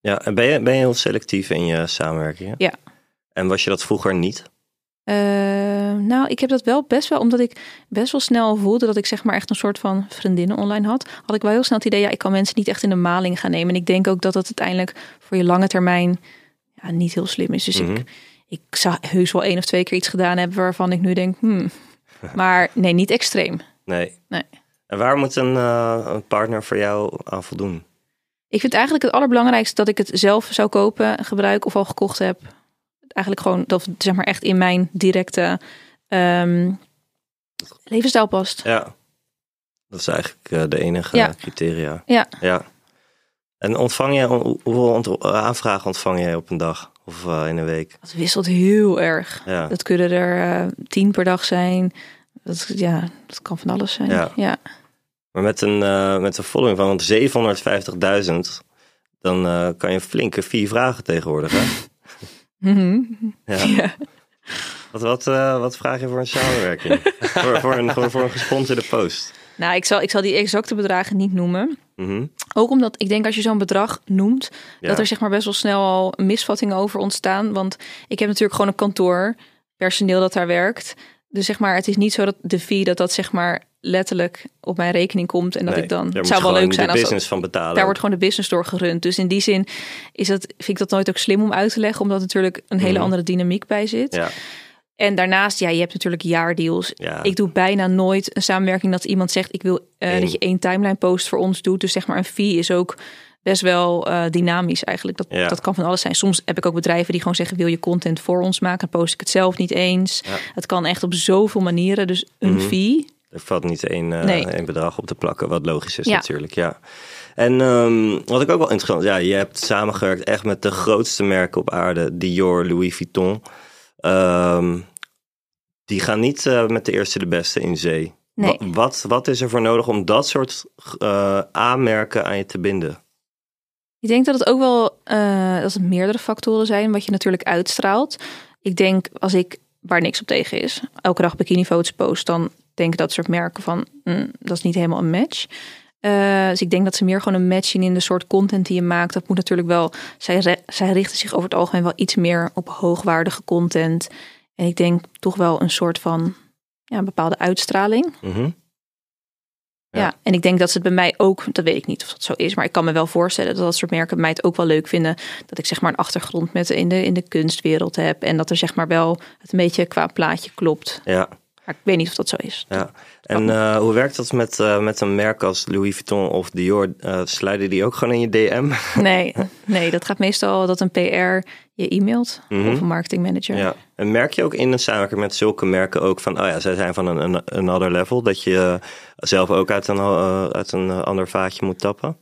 Speaker 3: Ja, en ben je, ben je heel selectief in je samenwerkingen?
Speaker 6: Ja.
Speaker 3: En was je dat vroeger niet?
Speaker 6: Eh, nou, ik heb dat wel best wel, omdat ik best wel snel voelde dat ik zeg maar echt een soort van vriendinnen online had. Had ik wel heel snel het idee, ja, ik kan mensen niet echt in de maling gaan nemen. En ik denk ook dat dat uiteindelijk voor je lange termijn ja, niet heel slim is. Dus
Speaker 3: Mhm.
Speaker 6: ik, ik zou heus wel één of twee keer iets gedaan hebben waarvan ik nu denk, hmm. Maar nee, niet extreem.
Speaker 3: Nee.
Speaker 6: Nee.
Speaker 3: En waar moet een, eh, een partner voor jou aan voldoen?
Speaker 6: Ik vind eigenlijk het allerbelangrijkste dat ik het zelf zou kopen, gebruiken of al gekocht heb. Eigenlijk gewoon dat het, zeg maar echt in mijn directe ehm, levensstijl past.
Speaker 3: Ja. Dat is eigenlijk eh, de enige
Speaker 6: Ja.
Speaker 3: criteria.
Speaker 6: Ja.
Speaker 3: ja. En ontvang je, hoe- hoeveel ont- aanvragen ontvang jij op een dag of eh, in een week?
Speaker 6: Dat wisselt heel erg.
Speaker 3: Ja.
Speaker 6: Dat kunnen er eh, tien per dag zijn. Dat, ja, dat kan van alles zijn.
Speaker 3: Ja.
Speaker 6: Ja. Ja.
Speaker 3: Maar met een, eh, met een following van want 750.000, dan eh, kan je flinke vier vragen tegenwoordig. Hè?
Speaker 6: <laughs> Mhm.
Speaker 3: Ja.
Speaker 6: <laughs> Ja.
Speaker 3: Wat, wat, eh, wat vraag je voor een
Speaker 6: <laughs>
Speaker 3: samenwerking? voor, voor, een, voor, voor een gesponsorde post.
Speaker 6: Nou, ik zal, ik zal die exacte bedragen niet noemen.
Speaker 3: Mhm.
Speaker 6: Ook omdat ik denk als je zo'n bedrag noemt,
Speaker 3: Ja.
Speaker 6: dat er zeg maar best wel snel al misvattingen over ontstaan. Want ik heb natuurlijk gewoon een kantoor, personeel dat daar werkt. Dus zeg maar, het is niet zo dat de fee dat dat zeg maar letterlijk op mijn rekening komt. En dat
Speaker 3: Nee,
Speaker 6: ik dan,
Speaker 3: daar
Speaker 6: het
Speaker 3: moet
Speaker 6: zou
Speaker 3: je
Speaker 6: wel
Speaker 3: gewoon
Speaker 6: leuk zijn
Speaker 3: de
Speaker 6: als dat-
Speaker 3: business van betalen.
Speaker 6: daar wordt gewoon de business door gerund. Dus in die zin is dat, vind ik dat nooit ook slim om uit te leggen. Omdat natuurlijk een hele
Speaker 3: Mhm.
Speaker 6: andere dynamiek bij zit.
Speaker 3: Ja,
Speaker 6: En daarnaast, ja, je hebt natuurlijk jaardeals.
Speaker 3: ja.
Speaker 6: Ik doe bijna nooit een samenwerking dat iemand zegt: Ik wil eh,
Speaker 3: Eén.
Speaker 6: dat je één timeline post voor ons doet. Dus zeg maar, een fee is ook best wel eh, dynamisch eigenlijk. Dat,
Speaker 3: Ja.
Speaker 6: dat kan van alles zijn. Soms heb ik ook bedrijven die gewoon zeggen: Wil je content voor ons maken? Dan post ik het zelf niet eens.
Speaker 3: Ja.
Speaker 6: Het kan echt op zoveel manieren. Dus een
Speaker 3: Mhm.
Speaker 6: fee.
Speaker 3: Er valt niet één, eh,
Speaker 6: Nee.
Speaker 3: één bedrag op te plakken, wat logisch is
Speaker 6: Ja.
Speaker 3: natuurlijk. Ja. En ehm, wat ik ook wel interessant ja, je hebt samengewerkt echt met de grootste merken op aarde, Dior, Louis Vuitton. Ehm, die gaan niet eh, met de eerste de beste in zee.
Speaker 6: Nee.
Speaker 3: Wa- Wat, wat is er voor nodig om dat soort eh aanmerken aan je te binden?
Speaker 6: Ik denk dat het ook wel eh, dat het meerdere factoren zijn wat je natuurlijk uitstraalt. Ik denk als ik waar niks op tegen is, elke dag bikinifoto's post, dan denk ik dat soort merken van mm, dat is niet helemaal een match. Eh, dus ik denk dat ze meer gewoon een match zien in de soort content die je maakt. Dat moet natuurlijk wel. Zij, re- zij richten zich over het algemeen wel iets meer op hoogwaardige content. En ik denk toch wel een soort van ja, een bepaalde uitstraling.
Speaker 3: Mhm.
Speaker 6: Ja. en ik denk dat ze het bij mij ook, dat weet ik niet of dat zo is, maar ik kan me wel voorstellen dat dat soort merken mij het ook wel leuk vinden. Dat ik zeg maar een achtergrond met in de, in de kunstwereld heb en dat er zeg maar wel het een beetje qua plaatje klopt.
Speaker 3: Ja.
Speaker 6: Maar Maar ik weet niet of dat zo is.
Speaker 3: Ja. En
Speaker 6: Oh.
Speaker 3: eh, hoe werkt dat met, eh, met een merk als Louis Vuitton of Dior? Eh slijden die ook gewoon in je DM?
Speaker 6: Nee, nee, dat gaat meestal dat een PR je e-mailt of een marketingmanager.
Speaker 3: Ja. En merk je ook in een samenwerking met zulke merken ook van, oh ja, zij zijn van een, een another level, dat je eh, zelf ook uit een, eh, uit een eh, ander vaatje moet tappen?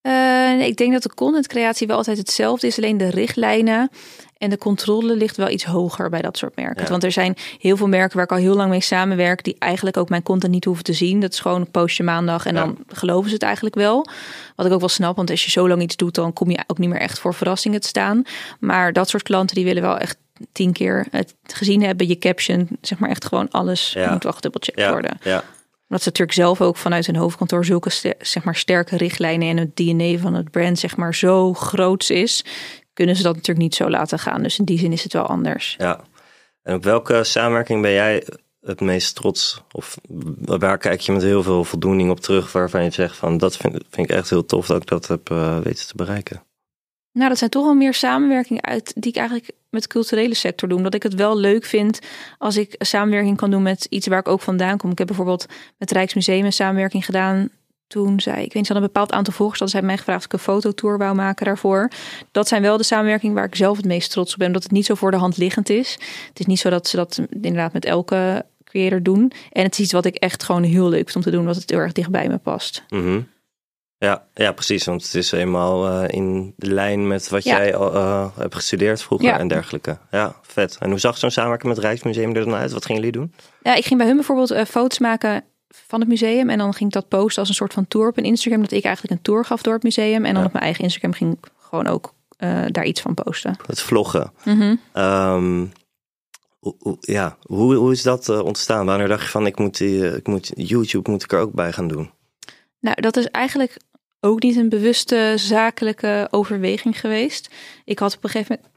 Speaker 6: Eh, nee, ik denk dat de contentcreatie wel altijd hetzelfde is, alleen de richtlijnen en de controle ligt wel iets hoger bij dat soort merken.
Speaker 3: Ja.
Speaker 6: Want er zijn heel veel merken waar ik al heel lang mee samenwerk, die eigenlijk ook mijn content niet hoeven te zien. Dat is gewoon een postje maandag en
Speaker 3: Ja.
Speaker 6: dan geloven ze het eigenlijk wel. Wat ik ook wel snap, want als je zo lang iets doet, dan kom je ook niet meer echt voor verrassingen te staan. Maar dat soort klanten die willen wel echt tien keer het gezien hebben, je caption, zeg maar echt gewoon alles
Speaker 3: Ja.
Speaker 6: moet wel gedubbelcheckt
Speaker 3: Ja,
Speaker 6: worden.
Speaker 3: ja.
Speaker 6: Omdat ze natuurlijk zelf ook vanuit hun hoofdkantoor zulke ster- zeg maar, sterke richtlijnen en het DNA van het brand zeg maar, zo groots is, kunnen ze dat natuurlijk niet zo laten gaan. Dus in die zin is het wel anders.
Speaker 3: ja. En op welke samenwerking ben jij het meest trots? Of waar kijk je met heel veel voldoening op terug, waarvan je zegt van, dat vind, vind ik echt heel tof dat ik dat heb eh, weten te bereiken?
Speaker 6: Nou, dat zijn toch wel meer samenwerkingen uit die ik eigenlijk met de culturele sector doe. Omdat ik het wel leuk vind als ik een samenwerking kan doen met iets waar ik ook vandaan kom. Ik heb bijvoorbeeld met Rijksmuseum een samenwerking gedaan. Toen zij, ik weet niet, ze hadden een bepaald aantal volgers. Hadden zij mij gevraagd of ik een fototour wou maken daarvoor. Dat zijn wel de samenwerkingen waar ik zelf het meest trots op ben. Omdat het niet zo voor de hand liggend is. Het is niet zo dat ze dat inderdaad met elke creator doen. En het is iets wat ik echt gewoon heel leuk vind om te doen. Omdat het heel erg dicht bij me past.
Speaker 3: Mhm. Ja, ja, precies. Want het is eenmaal eh, in de lijn met wat
Speaker 6: Ja.
Speaker 3: jij al eh, hebt gestudeerd vroeger
Speaker 6: Ja.
Speaker 3: en dergelijke. Ja, vet. En hoe zag zo'n samenwerking met het Rijksmuseum er dan uit? Wat gingen jullie doen?
Speaker 6: Ja, ik ging bij hun bijvoorbeeld eh, foto's maken van het museum. En dan ging ik dat posten als een soort van tour op een Instagram. Dat ik eigenlijk een tour gaf door het museum. En dan op mijn eigen Instagram ging ik gewoon ook eh, daar iets van posten.
Speaker 3: Het vloggen. Ehm, hoe- hoe- ja, hoe, hoe is dat eh, ontstaan? Wanneer dacht je van, ik moet, die, eh, ik moet YouTube moet ik er ook bij gaan doen?
Speaker 6: Nou, dat is eigenlijk ook niet een bewuste zakelijke overweging geweest. Ik had op een gegeven moment.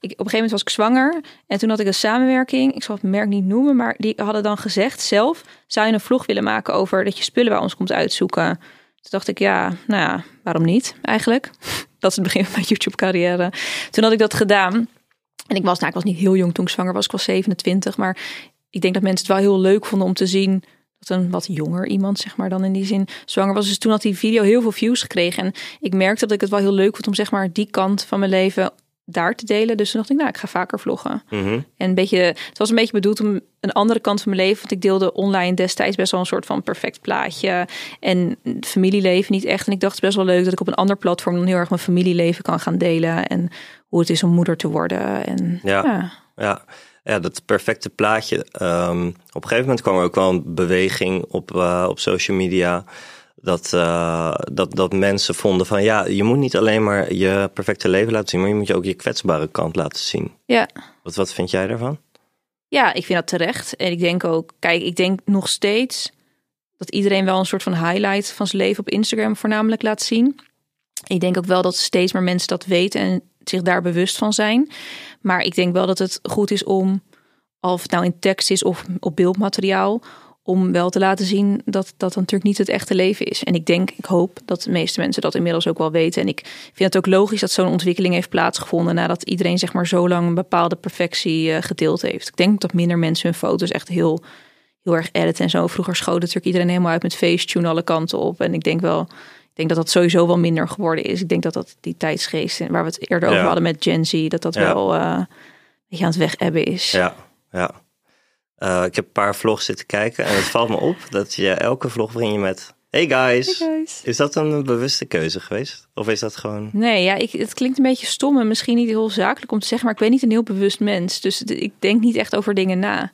Speaker 6: Ik, op een gegeven moment was ik zwanger en toen had ik een samenwerking. Ik zal het merk niet noemen, maar die hadden dan gezegd zelf: zou je een vlog willen maken over dat je spullen bij ons komt uitzoeken? Toen dacht ik ja, nou ja, waarom niet eigenlijk? <laughs> Dat is het begin van mijn YouTube-carrière. Toen had ik dat gedaan en ik was, nou, ik was niet heel jong toen ik zwanger was. Ik was 27, maar ik denk dat mensen het wel heel leuk vonden om te zien dat een wat jonger iemand, zeg maar, dan in die zin zwanger was. Dus toen had die video heel veel views gekregen. En ik merkte dat ik het wel heel leuk vond om, zeg maar, die kant van mijn leven daar te delen. Dus toen dacht ik, nou, ik ga vaker vloggen. En een beetje, het was een beetje bedoeld om een andere kant van mijn leven. Want ik deelde online destijds best wel een soort van perfect plaatje. En het familieleven niet echt. En ik dacht, het is best wel leuk dat ik op een ander platform dan heel erg mijn familieleven kan gaan delen. En hoe het is om moeder te worden. En
Speaker 3: Ja.
Speaker 6: ja.
Speaker 3: Ja, ja dat perfecte plaatje. Ehm, op een gegeven moment kwam er ook wel een beweging op, eh, op social media. Dat, eh, dat, dat mensen vonden van ja, je moet niet alleen maar je perfecte leven laten zien, maar je moet je ook je kwetsbare kant laten zien.
Speaker 6: ja.
Speaker 3: Wat, wat vind jij daarvan?
Speaker 6: Ja, ik vind dat terecht. En ik denk ook, kijk, ik denk nog steeds dat iedereen wel een soort van highlight van zijn leven op Instagram voornamelijk laat zien. Ik denk ook wel dat steeds meer mensen dat weten en zich daar bewust van zijn. Maar ik denk wel dat het goed is om, of het nou in tekst is of op beeldmateriaal, om wel te laten zien dat dat dan natuurlijk niet het echte leven is. En ik denk, ik hoop dat de meeste mensen dat inmiddels ook wel weten. En ik vind het ook logisch dat zo'n ontwikkeling heeft plaatsgevonden nadat iedereen zeg maar zo lang een bepaalde perfectie eh, gedeeld heeft. Ik denk dat minder mensen hun foto's echt heel, heel erg editen en zo. Vroeger schoot natuurlijk iedereen helemaal uit met Facetune alle kanten op. En ik denk wel, ik denk dat dat sowieso wel minder geworden is. Ik denk dat dat die tijdsgeest waar we het eerder
Speaker 3: Ja.
Speaker 6: over hadden met Gen Z, dat dat
Speaker 3: Ja.
Speaker 6: wel eh, een beetje aan het weg ebben is.
Speaker 3: Ja, ja. Eh, ik heb een paar vlogs zitten kijken en het valt me op dat je elke vlog begin je met hey guys. Is dat een bewuste keuze geweest? Of is dat gewoon...
Speaker 6: Nee, ja, ik, het klinkt een beetje stom en misschien niet heel zakelijk om te zeggen, maar ik ben niet een heel bewust mens. Dus d- ik denk niet echt over dingen na.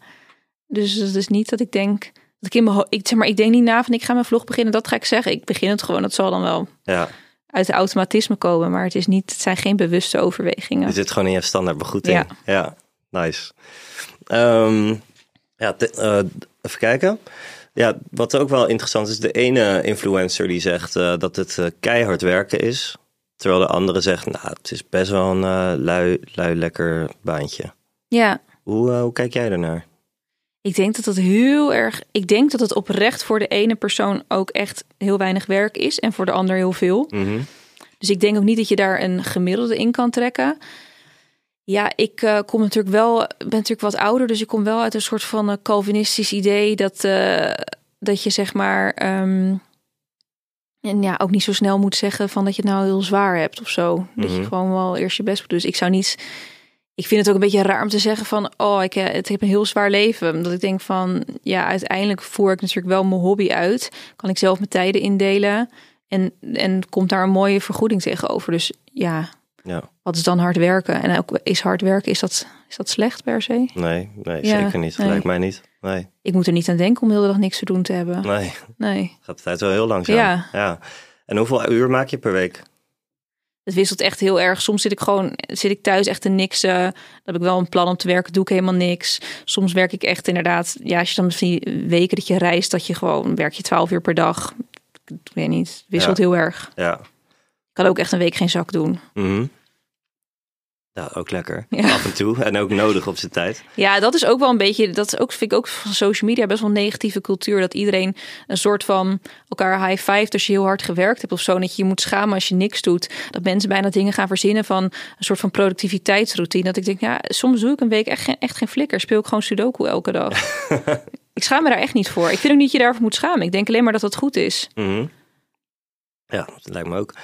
Speaker 6: Dus het is niet dat ik denk dat ik in mijn ho- ik zeg maar, ik denk niet na van ik ga mijn vlog beginnen. Dat ga ik zeggen. Ik begin het gewoon. Dat zal dan wel
Speaker 3: Ja,
Speaker 6: uit de automatisme komen, maar het is niet. Het zijn geen bewuste
Speaker 3: Je
Speaker 6: overwegingen.
Speaker 3: zit gewoon in je standaard begroeting. Ja,
Speaker 6: Ja.
Speaker 3: nice. Ehm, ja, te- eh, even kijken. Ja, wat ook wel interessant is, de ene influencer die zegt eh, dat het eh, keihard werken is. Terwijl de andere zegt, nou, het is best wel een eh, lui, lui lekker baantje.
Speaker 6: Ja,
Speaker 3: Hoe, eh, hoe kijk jij daarnaar?
Speaker 6: Ik denk dat het heel erg. Ik denk dat het oprecht voor de ene persoon ook echt heel weinig werk is en voor de ander heel veel. Dus ik denk ook niet dat je daar een gemiddelde in kan trekken. Ja, ik eh, kom natuurlijk wel, ben natuurlijk wat ouder, dus ik kom wel uit een soort van eh, Calvinistisch idee dat, eh, dat je zeg maar ehm, en ja, ook niet zo snel moet zeggen van dat je het nou heel zwaar hebt of zo. Dat je
Speaker 3: Mhm.
Speaker 6: gewoon wel eerst je best moet doen. Dus ik zou niet, ik vind het ook een beetje raar om te zeggen van, oh, ik, eh, het- ik heb een heel zwaar leven. Omdat ik denk van, ja, uiteindelijk voer ik natuurlijk wel mijn hobby uit. Kan ik zelf mijn tijden indelen en, en komt daar een mooie vergoeding tegenover. Dus ja,
Speaker 3: Ja,
Speaker 6: wat is dan hard werken? En ook is hard werken, is dat, is dat slecht per se?
Speaker 3: nee, nee
Speaker 6: Ja,
Speaker 3: zeker niet.
Speaker 6: nee.
Speaker 3: Lijkt mij niet. Nee,
Speaker 6: Ik moet er niet aan denken om de hele dag niks te doen te hebben.
Speaker 3: nee.
Speaker 6: Nee,
Speaker 3: Gaat de tijd wel heel langzaam.
Speaker 6: Ja.
Speaker 3: En hoeveel uur maak je per week?
Speaker 6: het wisselt echt heel erg. Soms zit ik gewoon zit ik thuis echt te niksen. Dan heb ik wel een plan om te werken, doe ik helemaal niks. Soms werk ik echt inderdaad, ja, als je dan misschien weken dat je reist, dat je gewoon werk je twaalf uur per dag. Ik weet niet, het wisselt
Speaker 3: Ja.
Speaker 6: heel erg.
Speaker 3: Ja.
Speaker 6: Ik kan ook echt een week geen zak doen.
Speaker 3: Mhm. Ja, ook lekker.
Speaker 6: Ja.
Speaker 3: Af en toe. En ook nodig op zijn tijd.
Speaker 6: Ja, dat is ook wel een beetje. Dat is ook, vind ik ook van social media best wel een negatieve cultuur. Dat iedereen een soort van elkaar high five als je heel hard gewerkt hebt of zo. En dat je je moet schamen als je niks doet. Dat mensen bijna dingen gaan verzinnen van een soort van productiviteitsroutine. Dat ik denk, ja, soms doe ik een week echt, geen- echt geen flikker. Speel ik gewoon Sudoku elke
Speaker 3: <laughs>
Speaker 6: dag. ik schaam me daar echt niet voor. Ik vind ook niet dat je daarvoor moet schamen. Ik denk alleen maar dat dat goed is.
Speaker 3: Mhm. Ja, dat lijkt me ook.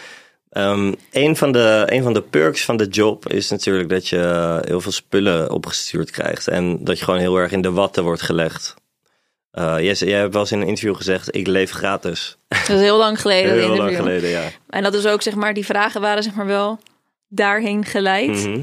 Speaker 3: Ehm, een, van de, een van de perks van de job is natuurlijk dat je heel veel spullen opgestuurd krijgt. En dat je gewoon heel erg in de watten wordt gelegd. Eh Jesse, jij hebt wel eens in een interview gezegd, ik leef gratis.
Speaker 6: Dat is heel lang geleden. dat
Speaker 3: heel lang
Speaker 6: interview.
Speaker 3: geleden, ja.
Speaker 6: En dat is ook, zeg maar, die vragen waren zeg maar wel daarheen geleid.
Speaker 3: Mhm.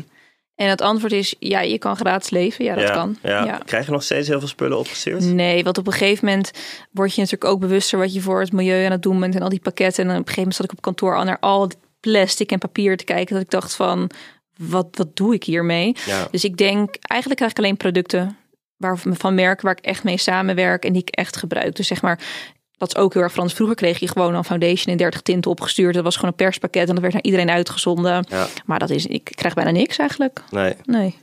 Speaker 6: En het antwoord is, ja, je kan gratis leven. Ja, dat
Speaker 3: ja,
Speaker 6: kan.
Speaker 3: Ja.
Speaker 6: Ja. Mm.
Speaker 3: Krijg je nog steeds heel veel spullen opgestuurd?
Speaker 6: Nee, want op een gegeven moment word je natuurlijk ook bewuster wat je voor het milieu aan het doen bent en al die pakketten. En op een gegeven moment zat ik op kantoor al naar al dit plastic en papier te kijken. Dat ik dacht van, wat, wat doe ik hiermee?
Speaker 3: Ja.
Speaker 6: Dus ik denk, eigenlijk krijg ik alleen producten waar, van merken waar ik echt mee samenwerk en die ik echt gebruik. Dus zeg maar, dat is ook heel erg Frans. Vroeger kreeg je gewoon een foundation in 30 tinten opgestuurd. Dat was gewoon een perspakket en dat werd naar iedereen uitgezonden.
Speaker 3: Ja.
Speaker 6: Maar dat is, ik krijg bijna niks eigenlijk.
Speaker 3: Nee.
Speaker 6: Nee.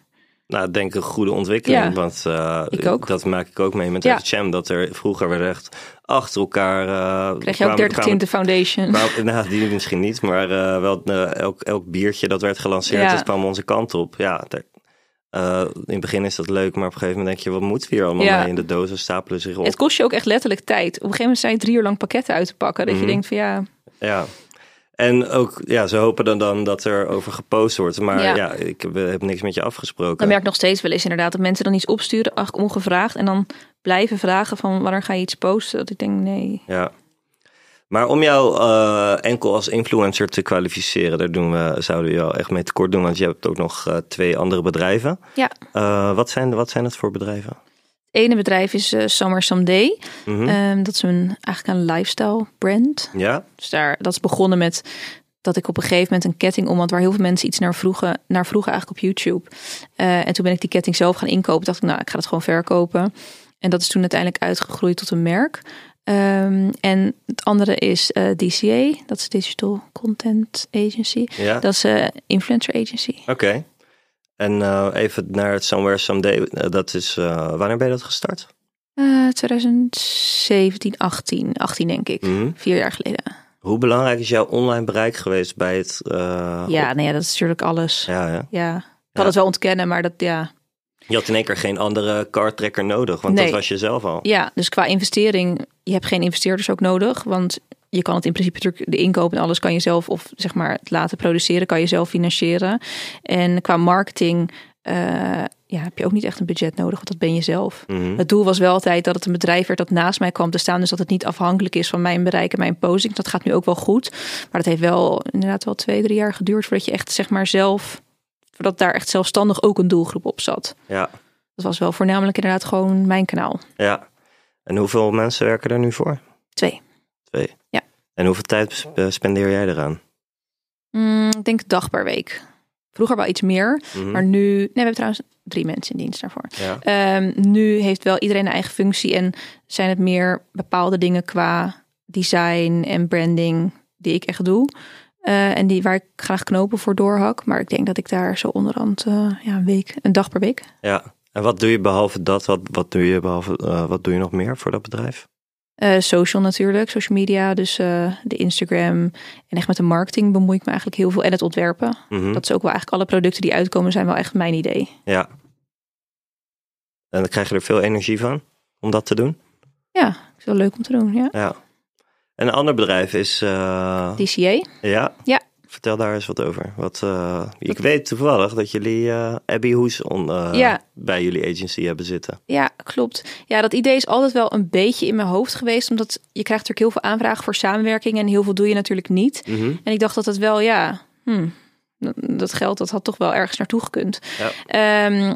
Speaker 3: Nou, ik denk een goede ontwikkeling.
Speaker 6: Ja.
Speaker 3: Want eh,
Speaker 6: Ik ook.
Speaker 3: dat maak ik ook mee met
Speaker 6: Ja.
Speaker 3: FHM. Dat er vroeger werd echt achter elkaar... eh,
Speaker 6: Krijg je ook
Speaker 3: kwamen-
Speaker 6: 30
Speaker 3: kwamen-
Speaker 6: tinten foundation. <laughs>
Speaker 3: kwamen- nou, die misschien niet. Maar eh, wel eh, elk, elk biertje dat werd gelanceerd,
Speaker 6: Ja.
Speaker 3: dat kwam onze kant op. Ja, daar- eh, in het begin is dat leuk. Maar op een gegeven moment denk je, wat moeten we hier allemaal
Speaker 6: Ja.
Speaker 3: mee? En de dozen stapelen zich op.
Speaker 6: Het kost je ook echt letterlijk tijd. Op een gegeven moment zijn je drie uur lang pakketten uit te pakken. Dat
Speaker 3: Mhm.
Speaker 6: je denkt van ja,
Speaker 3: Ja. En ook, ja, ze hopen dan, dan dat er over gepost wordt. Maar ja,
Speaker 6: Ja.
Speaker 3: ik heb, eh, heb niks met je afgesproken.
Speaker 6: dan merk ik nog steeds wel eens inderdaad dat mensen dan iets opsturen, ach, ongevraagd. En dan blijven vragen van wanneer ga je iets posten? Dat ik denk nee.
Speaker 3: Ja. Maar om jou eh, enkel als influencer te kwalificeren, daar doen we, zouden we jou echt mee tekort doen, want je hebt ook nog eh, twee andere bedrijven.
Speaker 6: Ja.
Speaker 3: Eh, wat, zijn, wat zijn dat voor bedrijven?
Speaker 6: Het ene bedrijf is eh, Summer Someday.
Speaker 3: Mhm.
Speaker 6: Ehm, dat is een, eigenlijk een lifestyle brand.
Speaker 3: ja?
Speaker 6: Dus daar, dat is begonnen met dat ik op een gegeven moment een ketting om had waar heel veel mensen iets naar vroegen, naar vroegen eigenlijk op YouTube. Eh, en toen ben ik die ketting zelf gaan inkopen. Dacht ik, nou, ik ga het gewoon verkopen. En dat is toen uiteindelijk uitgegroeid tot een merk. Ehm, en het andere is eh, DCA, dat is Digital Content Agency.
Speaker 3: Ja,
Speaker 6: Dat is eh, influencer agency.
Speaker 3: oké. En eh, even naar het Somewhere Someday, eh, dat is, eh, wanneer ben je dat gestart?
Speaker 6: Eh 2017, 18, 18 denk ik.
Speaker 3: Mhm.
Speaker 6: Vier jaar geleden.
Speaker 3: Hoe belangrijk is jouw online bereik geweest bij het... eh,
Speaker 6: Ja, nou ja, dat is natuurlijk alles.
Speaker 3: ja, ja.
Speaker 6: Ja. Ik
Speaker 3: Ja.
Speaker 6: kan het wel ontkennen, maar dat ja.
Speaker 3: Je had in één keer geen andere cardtrekker nodig, want
Speaker 6: Nee.
Speaker 3: dat was je zelf al.
Speaker 6: Ja, dus qua investering, je hebt geen investeerders ook nodig. Want je kan het in principe natuurlijk, de inkoop en alles kan je zelf, of zeg maar het laten produceren, kan je zelf financieren. En qua marketing eh, ja, heb je ook niet echt een budget nodig, want dat ben je zelf.
Speaker 3: Mhm.
Speaker 6: Het doel was wel altijd dat het een bedrijf werd dat naast mij kwam te staan. Dus dat het niet afhankelijk is van mijn bereik en mijn posing. Dat gaat nu ook wel goed. Maar dat heeft wel inderdaad wel twee, drie jaar geduurd voordat je echt zeg maar zelf, voordat daar echt zelfstandig ook een doelgroep op zat.
Speaker 3: Ja,
Speaker 6: Dat was wel voornamelijk inderdaad gewoon mijn kanaal.
Speaker 3: ja. En hoeveel mensen werken er nu voor?
Speaker 6: Twee.
Speaker 3: Twee.
Speaker 6: Ja.
Speaker 3: En hoeveel tijd sp- eh, spendeer jij eraan?
Speaker 6: Mm, ik denk een dag per week. Vroeger wel iets meer,
Speaker 3: Mhm.
Speaker 6: maar nu... Nee, we hebben trouwens drie mensen in dienst daarvoor.
Speaker 3: Ja.
Speaker 6: Ehm, nu heeft wel iedereen een eigen functie en zijn het meer bepaalde dingen qua design en branding die ik echt doe. Eh, en die waar ik graag knopen voor doorhak. Maar ik denk dat ik daar zo onderhand eh, ja, een week, een dag per week.
Speaker 3: ja. En wat doe je behalve dat? Wat, wat, doe, je behalve, eh, wat doe je nog meer voor dat bedrijf?
Speaker 6: Eh, social natuurlijk, social media, dus eh, de Instagram. En echt met de marketing bemoei ik me eigenlijk heel veel. En het ontwerpen.
Speaker 3: Mhm.
Speaker 6: Dat is ook wel eigenlijk alle producten die uitkomen zijn wel echt mijn idee.
Speaker 3: Ja. En dan krijg je er veel energie van om dat te doen.
Speaker 6: Ja, dat is wel leuk om te doen, ja.
Speaker 3: Ja. En een ander bedrijf is. eh,
Speaker 6: DCA.
Speaker 3: Ja.
Speaker 6: Ja.
Speaker 3: Vertel daar eens wat over. Wat, eh, ik weet toevallig dat jullie eh Abby Hoes on, eh,
Speaker 6: Ja.
Speaker 3: bij jullie agency hebben zitten.
Speaker 6: Ja, klopt. Ja, dat idee is altijd wel een beetje in mijn hoofd geweest. Omdat je krijgt natuurlijk heel veel aanvragen voor samenwerking. En heel veel doe je natuurlijk niet. En ik dacht dat dat wel, ja, hmm, dat- dat geld dat had toch wel ergens naartoe gekund.
Speaker 3: Ja.
Speaker 6: Ehm,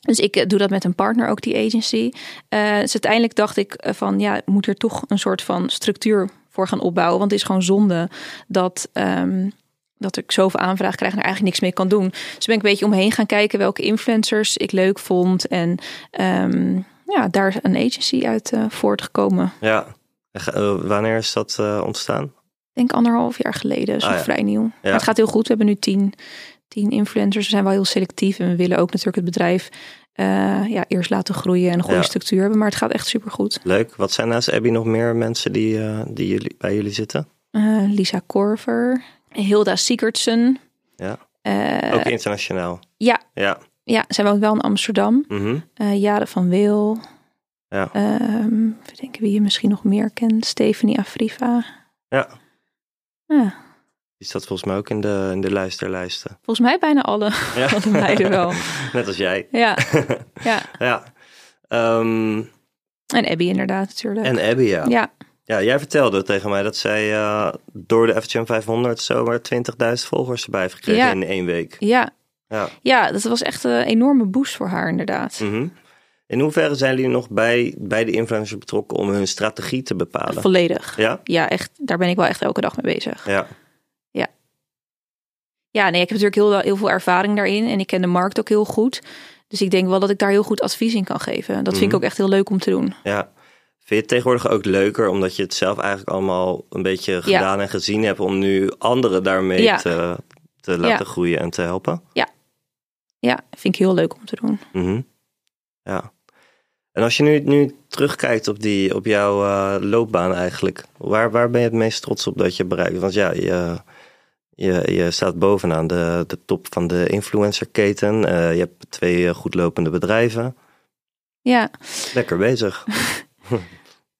Speaker 6: dus ik eh, doe dat met een partner, ook die agency. Eh, dus uiteindelijk dacht ik eh, van, ja, ik moet er toch een soort van structuur voor gaan opbouwen. Want het is gewoon zonde dat, ehm, dat ik zoveel aanvraag krijg en er eigenlijk niks mee kan doen. Dus ben ik een beetje omheen gaan kijken welke influencers ik leuk vond. En ehm, ja, daar is een agency uit eh, voortgekomen.
Speaker 3: Ja. En ga- eh, wanneer is dat eh, ontstaan?
Speaker 6: Ik denk anderhalf jaar geleden. Dus
Speaker 3: Ah,
Speaker 6: nog
Speaker 3: ja.
Speaker 6: vrij nieuw. Maar het gaat heel goed. We hebben nu tien, tien influencers. We zijn wel heel selectief. En we willen ook natuurlijk het bedrijf eh, ja, eerst laten groeien en een goede
Speaker 3: Ja.
Speaker 6: structuur hebben. Maar het gaat echt supergoed.
Speaker 3: Leuk. Wat zijn naast Abby nog meer mensen die, eh, die jullie, bij jullie zitten?
Speaker 6: Eh Lisa Korver, Hilda Siegertsen.
Speaker 3: Ja.
Speaker 6: Eh,
Speaker 3: Ook internationaal.
Speaker 6: ja.
Speaker 3: Ja.
Speaker 6: ja, zij woont wel in Amsterdam.
Speaker 3: Mhm.
Speaker 6: Eh Jade van Wil.
Speaker 3: Ja.
Speaker 6: Ehm, even denken wie je misschien nog meer kent. Stephanie Afriva.
Speaker 3: Ja.
Speaker 6: Ja,
Speaker 3: Die staat volgens mij ook in de, in de
Speaker 6: <laughs>
Speaker 3: luisterlijsten.
Speaker 6: volgens mij bijna alle,
Speaker 3: Ja.
Speaker 6: alle meiden wel.
Speaker 3: Net als jij. <laughs>
Speaker 6: Ja, ja.
Speaker 3: ja. Ehm,
Speaker 6: En Abby inderdaad natuurlijk.
Speaker 3: en Abby, ja.
Speaker 6: ja,
Speaker 3: Ja, jij vertelde tegen mij dat zij eh, door de FGM 500 zomaar 20.000 volgers erbij heeft gekregen
Speaker 6: Ja.
Speaker 3: in één week.
Speaker 6: ja,
Speaker 3: Ja.
Speaker 6: Ja, dat was echt een enorme boost voor haar, inderdaad.
Speaker 3: Mhm. In hoeverre zijn jullie nog bij, bij de influencers betrokken om hun strategie te bepalen?
Speaker 6: Volledig.
Speaker 3: ja?
Speaker 6: Ja, echt, daar ben ik wel echt elke dag mee bezig.
Speaker 3: Ja.
Speaker 6: Ja, nee, ik heb natuurlijk heel, heel veel ervaring daarin en ik ken de markt ook heel goed. Dus ik denk wel dat ik daar heel goed advies in kan geven. Dat vind ik
Speaker 3: Mhm.
Speaker 6: ook echt heel leuk om te doen.
Speaker 3: ja. Vind je het tegenwoordig ook leuker omdat je het zelf eigenlijk allemaal een beetje gedaan en gezien hebt om nu anderen daarmee
Speaker 6: Ja.
Speaker 3: te, te laten groeien en te helpen?
Speaker 6: Ja, vind ik heel leuk om te doen.
Speaker 3: Mhm. Ja. En als je nu, nu terugkijkt op, die, op jouw eh, loopbaan eigenlijk, waar, waar ben je het meest trots op dat je bereikt? Want ja, je, je, je staat bovenaan de, de top van de influencerketen. Eh, je hebt twee eh, goed lopende bedrijven.
Speaker 6: Ja,
Speaker 3: Lekker bezig.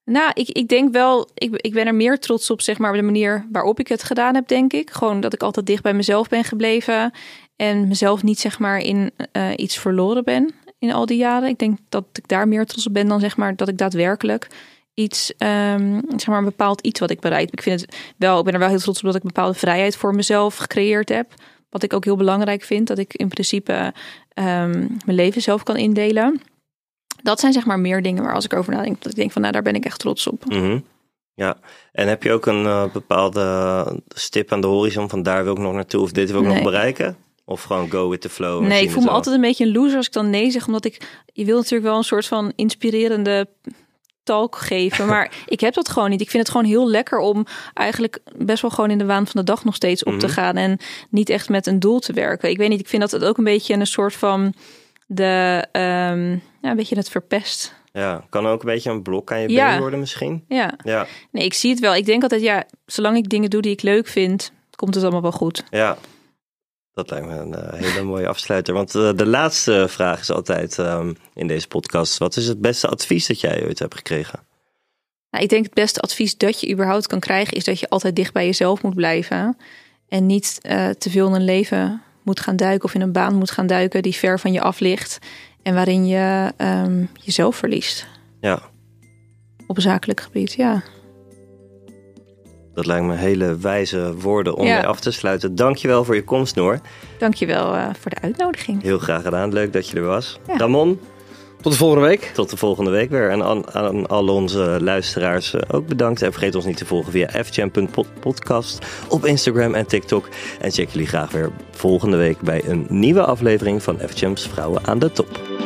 Speaker 6: nou, ik, ik denk wel, ik, ik ben er meer trots op, zeg maar, de manier waarop ik het gedaan heb, denk ik. Gewoon dat ik altijd dicht bij mezelf ben gebleven en mezelf niet, zeg maar, in eh, iets verloren ben in al die jaren. Ik denk dat ik daar meer trots op ben dan, zeg maar, dat ik daadwerkelijk iets, ehm, zeg maar, een bepaald iets wat ik bereid. Ik vind het wel, ik ben er wel heel trots op dat ik een bepaalde vrijheid voor mezelf gecreëerd heb. Wat ik ook heel belangrijk vind, dat ik in principe ehm, mijn leven zelf kan indelen. Dat zijn zeg maar meer dingen waar als ik over nadenk, dat ik denk van nou daar ben ik echt trots op.
Speaker 3: Mhm. Ja. En heb je ook een eh, bepaalde stip aan de horizon van daar wil ik nog naartoe of dit wil ik
Speaker 6: Nee.
Speaker 3: nog bereiken? Of gewoon go with the flow? en
Speaker 6: Nee,
Speaker 3: Oh, zien
Speaker 6: ik voel
Speaker 3: het
Speaker 6: me
Speaker 3: wel?
Speaker 6: altijd een beetje een loser als ik dan nee zeg. Omdat ik, je wil natuurlijk wel een soort van inspirerende talk
Speaker 3: <laughs>
Speaker 6: geven. Maar ik heb dat gewoon niet. Ik vind het gewoon heel lekker om eigenlijk best wel gewoon in de waan van de dag nog steeds op te
Speaker 3: Mhm.
Speaker 6: gaan. En niet echt met een doel te werken. Ik weet niet, ik vind dat het ook een beetje een soort van de, ehm, ja, een beetje het verpest.
Speaker 3: Ja, kan ook een beetje een blok aan je
Speaker 6: Ja.
Speaker 3: been worden misschien.
Speaker 6: Ja,
Speaker 3: Ja,
Speaker 6: nee, ik zie het wel. Ik denk altijd, ja, zolang ik dingen doe die ik leuk vind, komt het allemaal wel goed.
Speaker 3: Ja, dat lijkt me een eh, hele <laughs> mooie afsluiter. Want eh, de laatste vraag is altijd ehm, in deze podcast: wat is het beste advies dat jij ooit hebt gekregen?
Speaker 6: Nou, ik denk het beste advies dat je überhaupt kan krijgen is dat je altijd dicht bij jezelf moet blijven. En niet eh, te veel in een leven moet gaan duiken of in een baan moet gaan duiken die ver van je af ligt. En waarin je ehm, jezelf verliest
Speaker 3: Ja,
Speaker 6: op zakelijk gebied. Ja,
Speaker 3: dat lijkt me hele wijze woorden om
Speaker 6: Ja.
Speaker 3: mee af te sluiten. Dankjewel voor je komst, Noor.
Speaker 6: dankjewel wel voor de uitnodiging.
Speaker 3: Heel graag gedaan. Leuk dat je er was.
Speaker 6: Ja.
Speaker 3: Ramon,
Speaker 5: Tot de volgende week.
Speaker 3: tot de volgende week weer. En aan, aan al onze luisteraars eh, ook bedankt. En vergeet ons niet te volgen via fjam.podcast op Instagram en TikTok. En check jullie graag weer volgende week bij een nieuwe aflevering van FJam's Vrouwen aan de Top.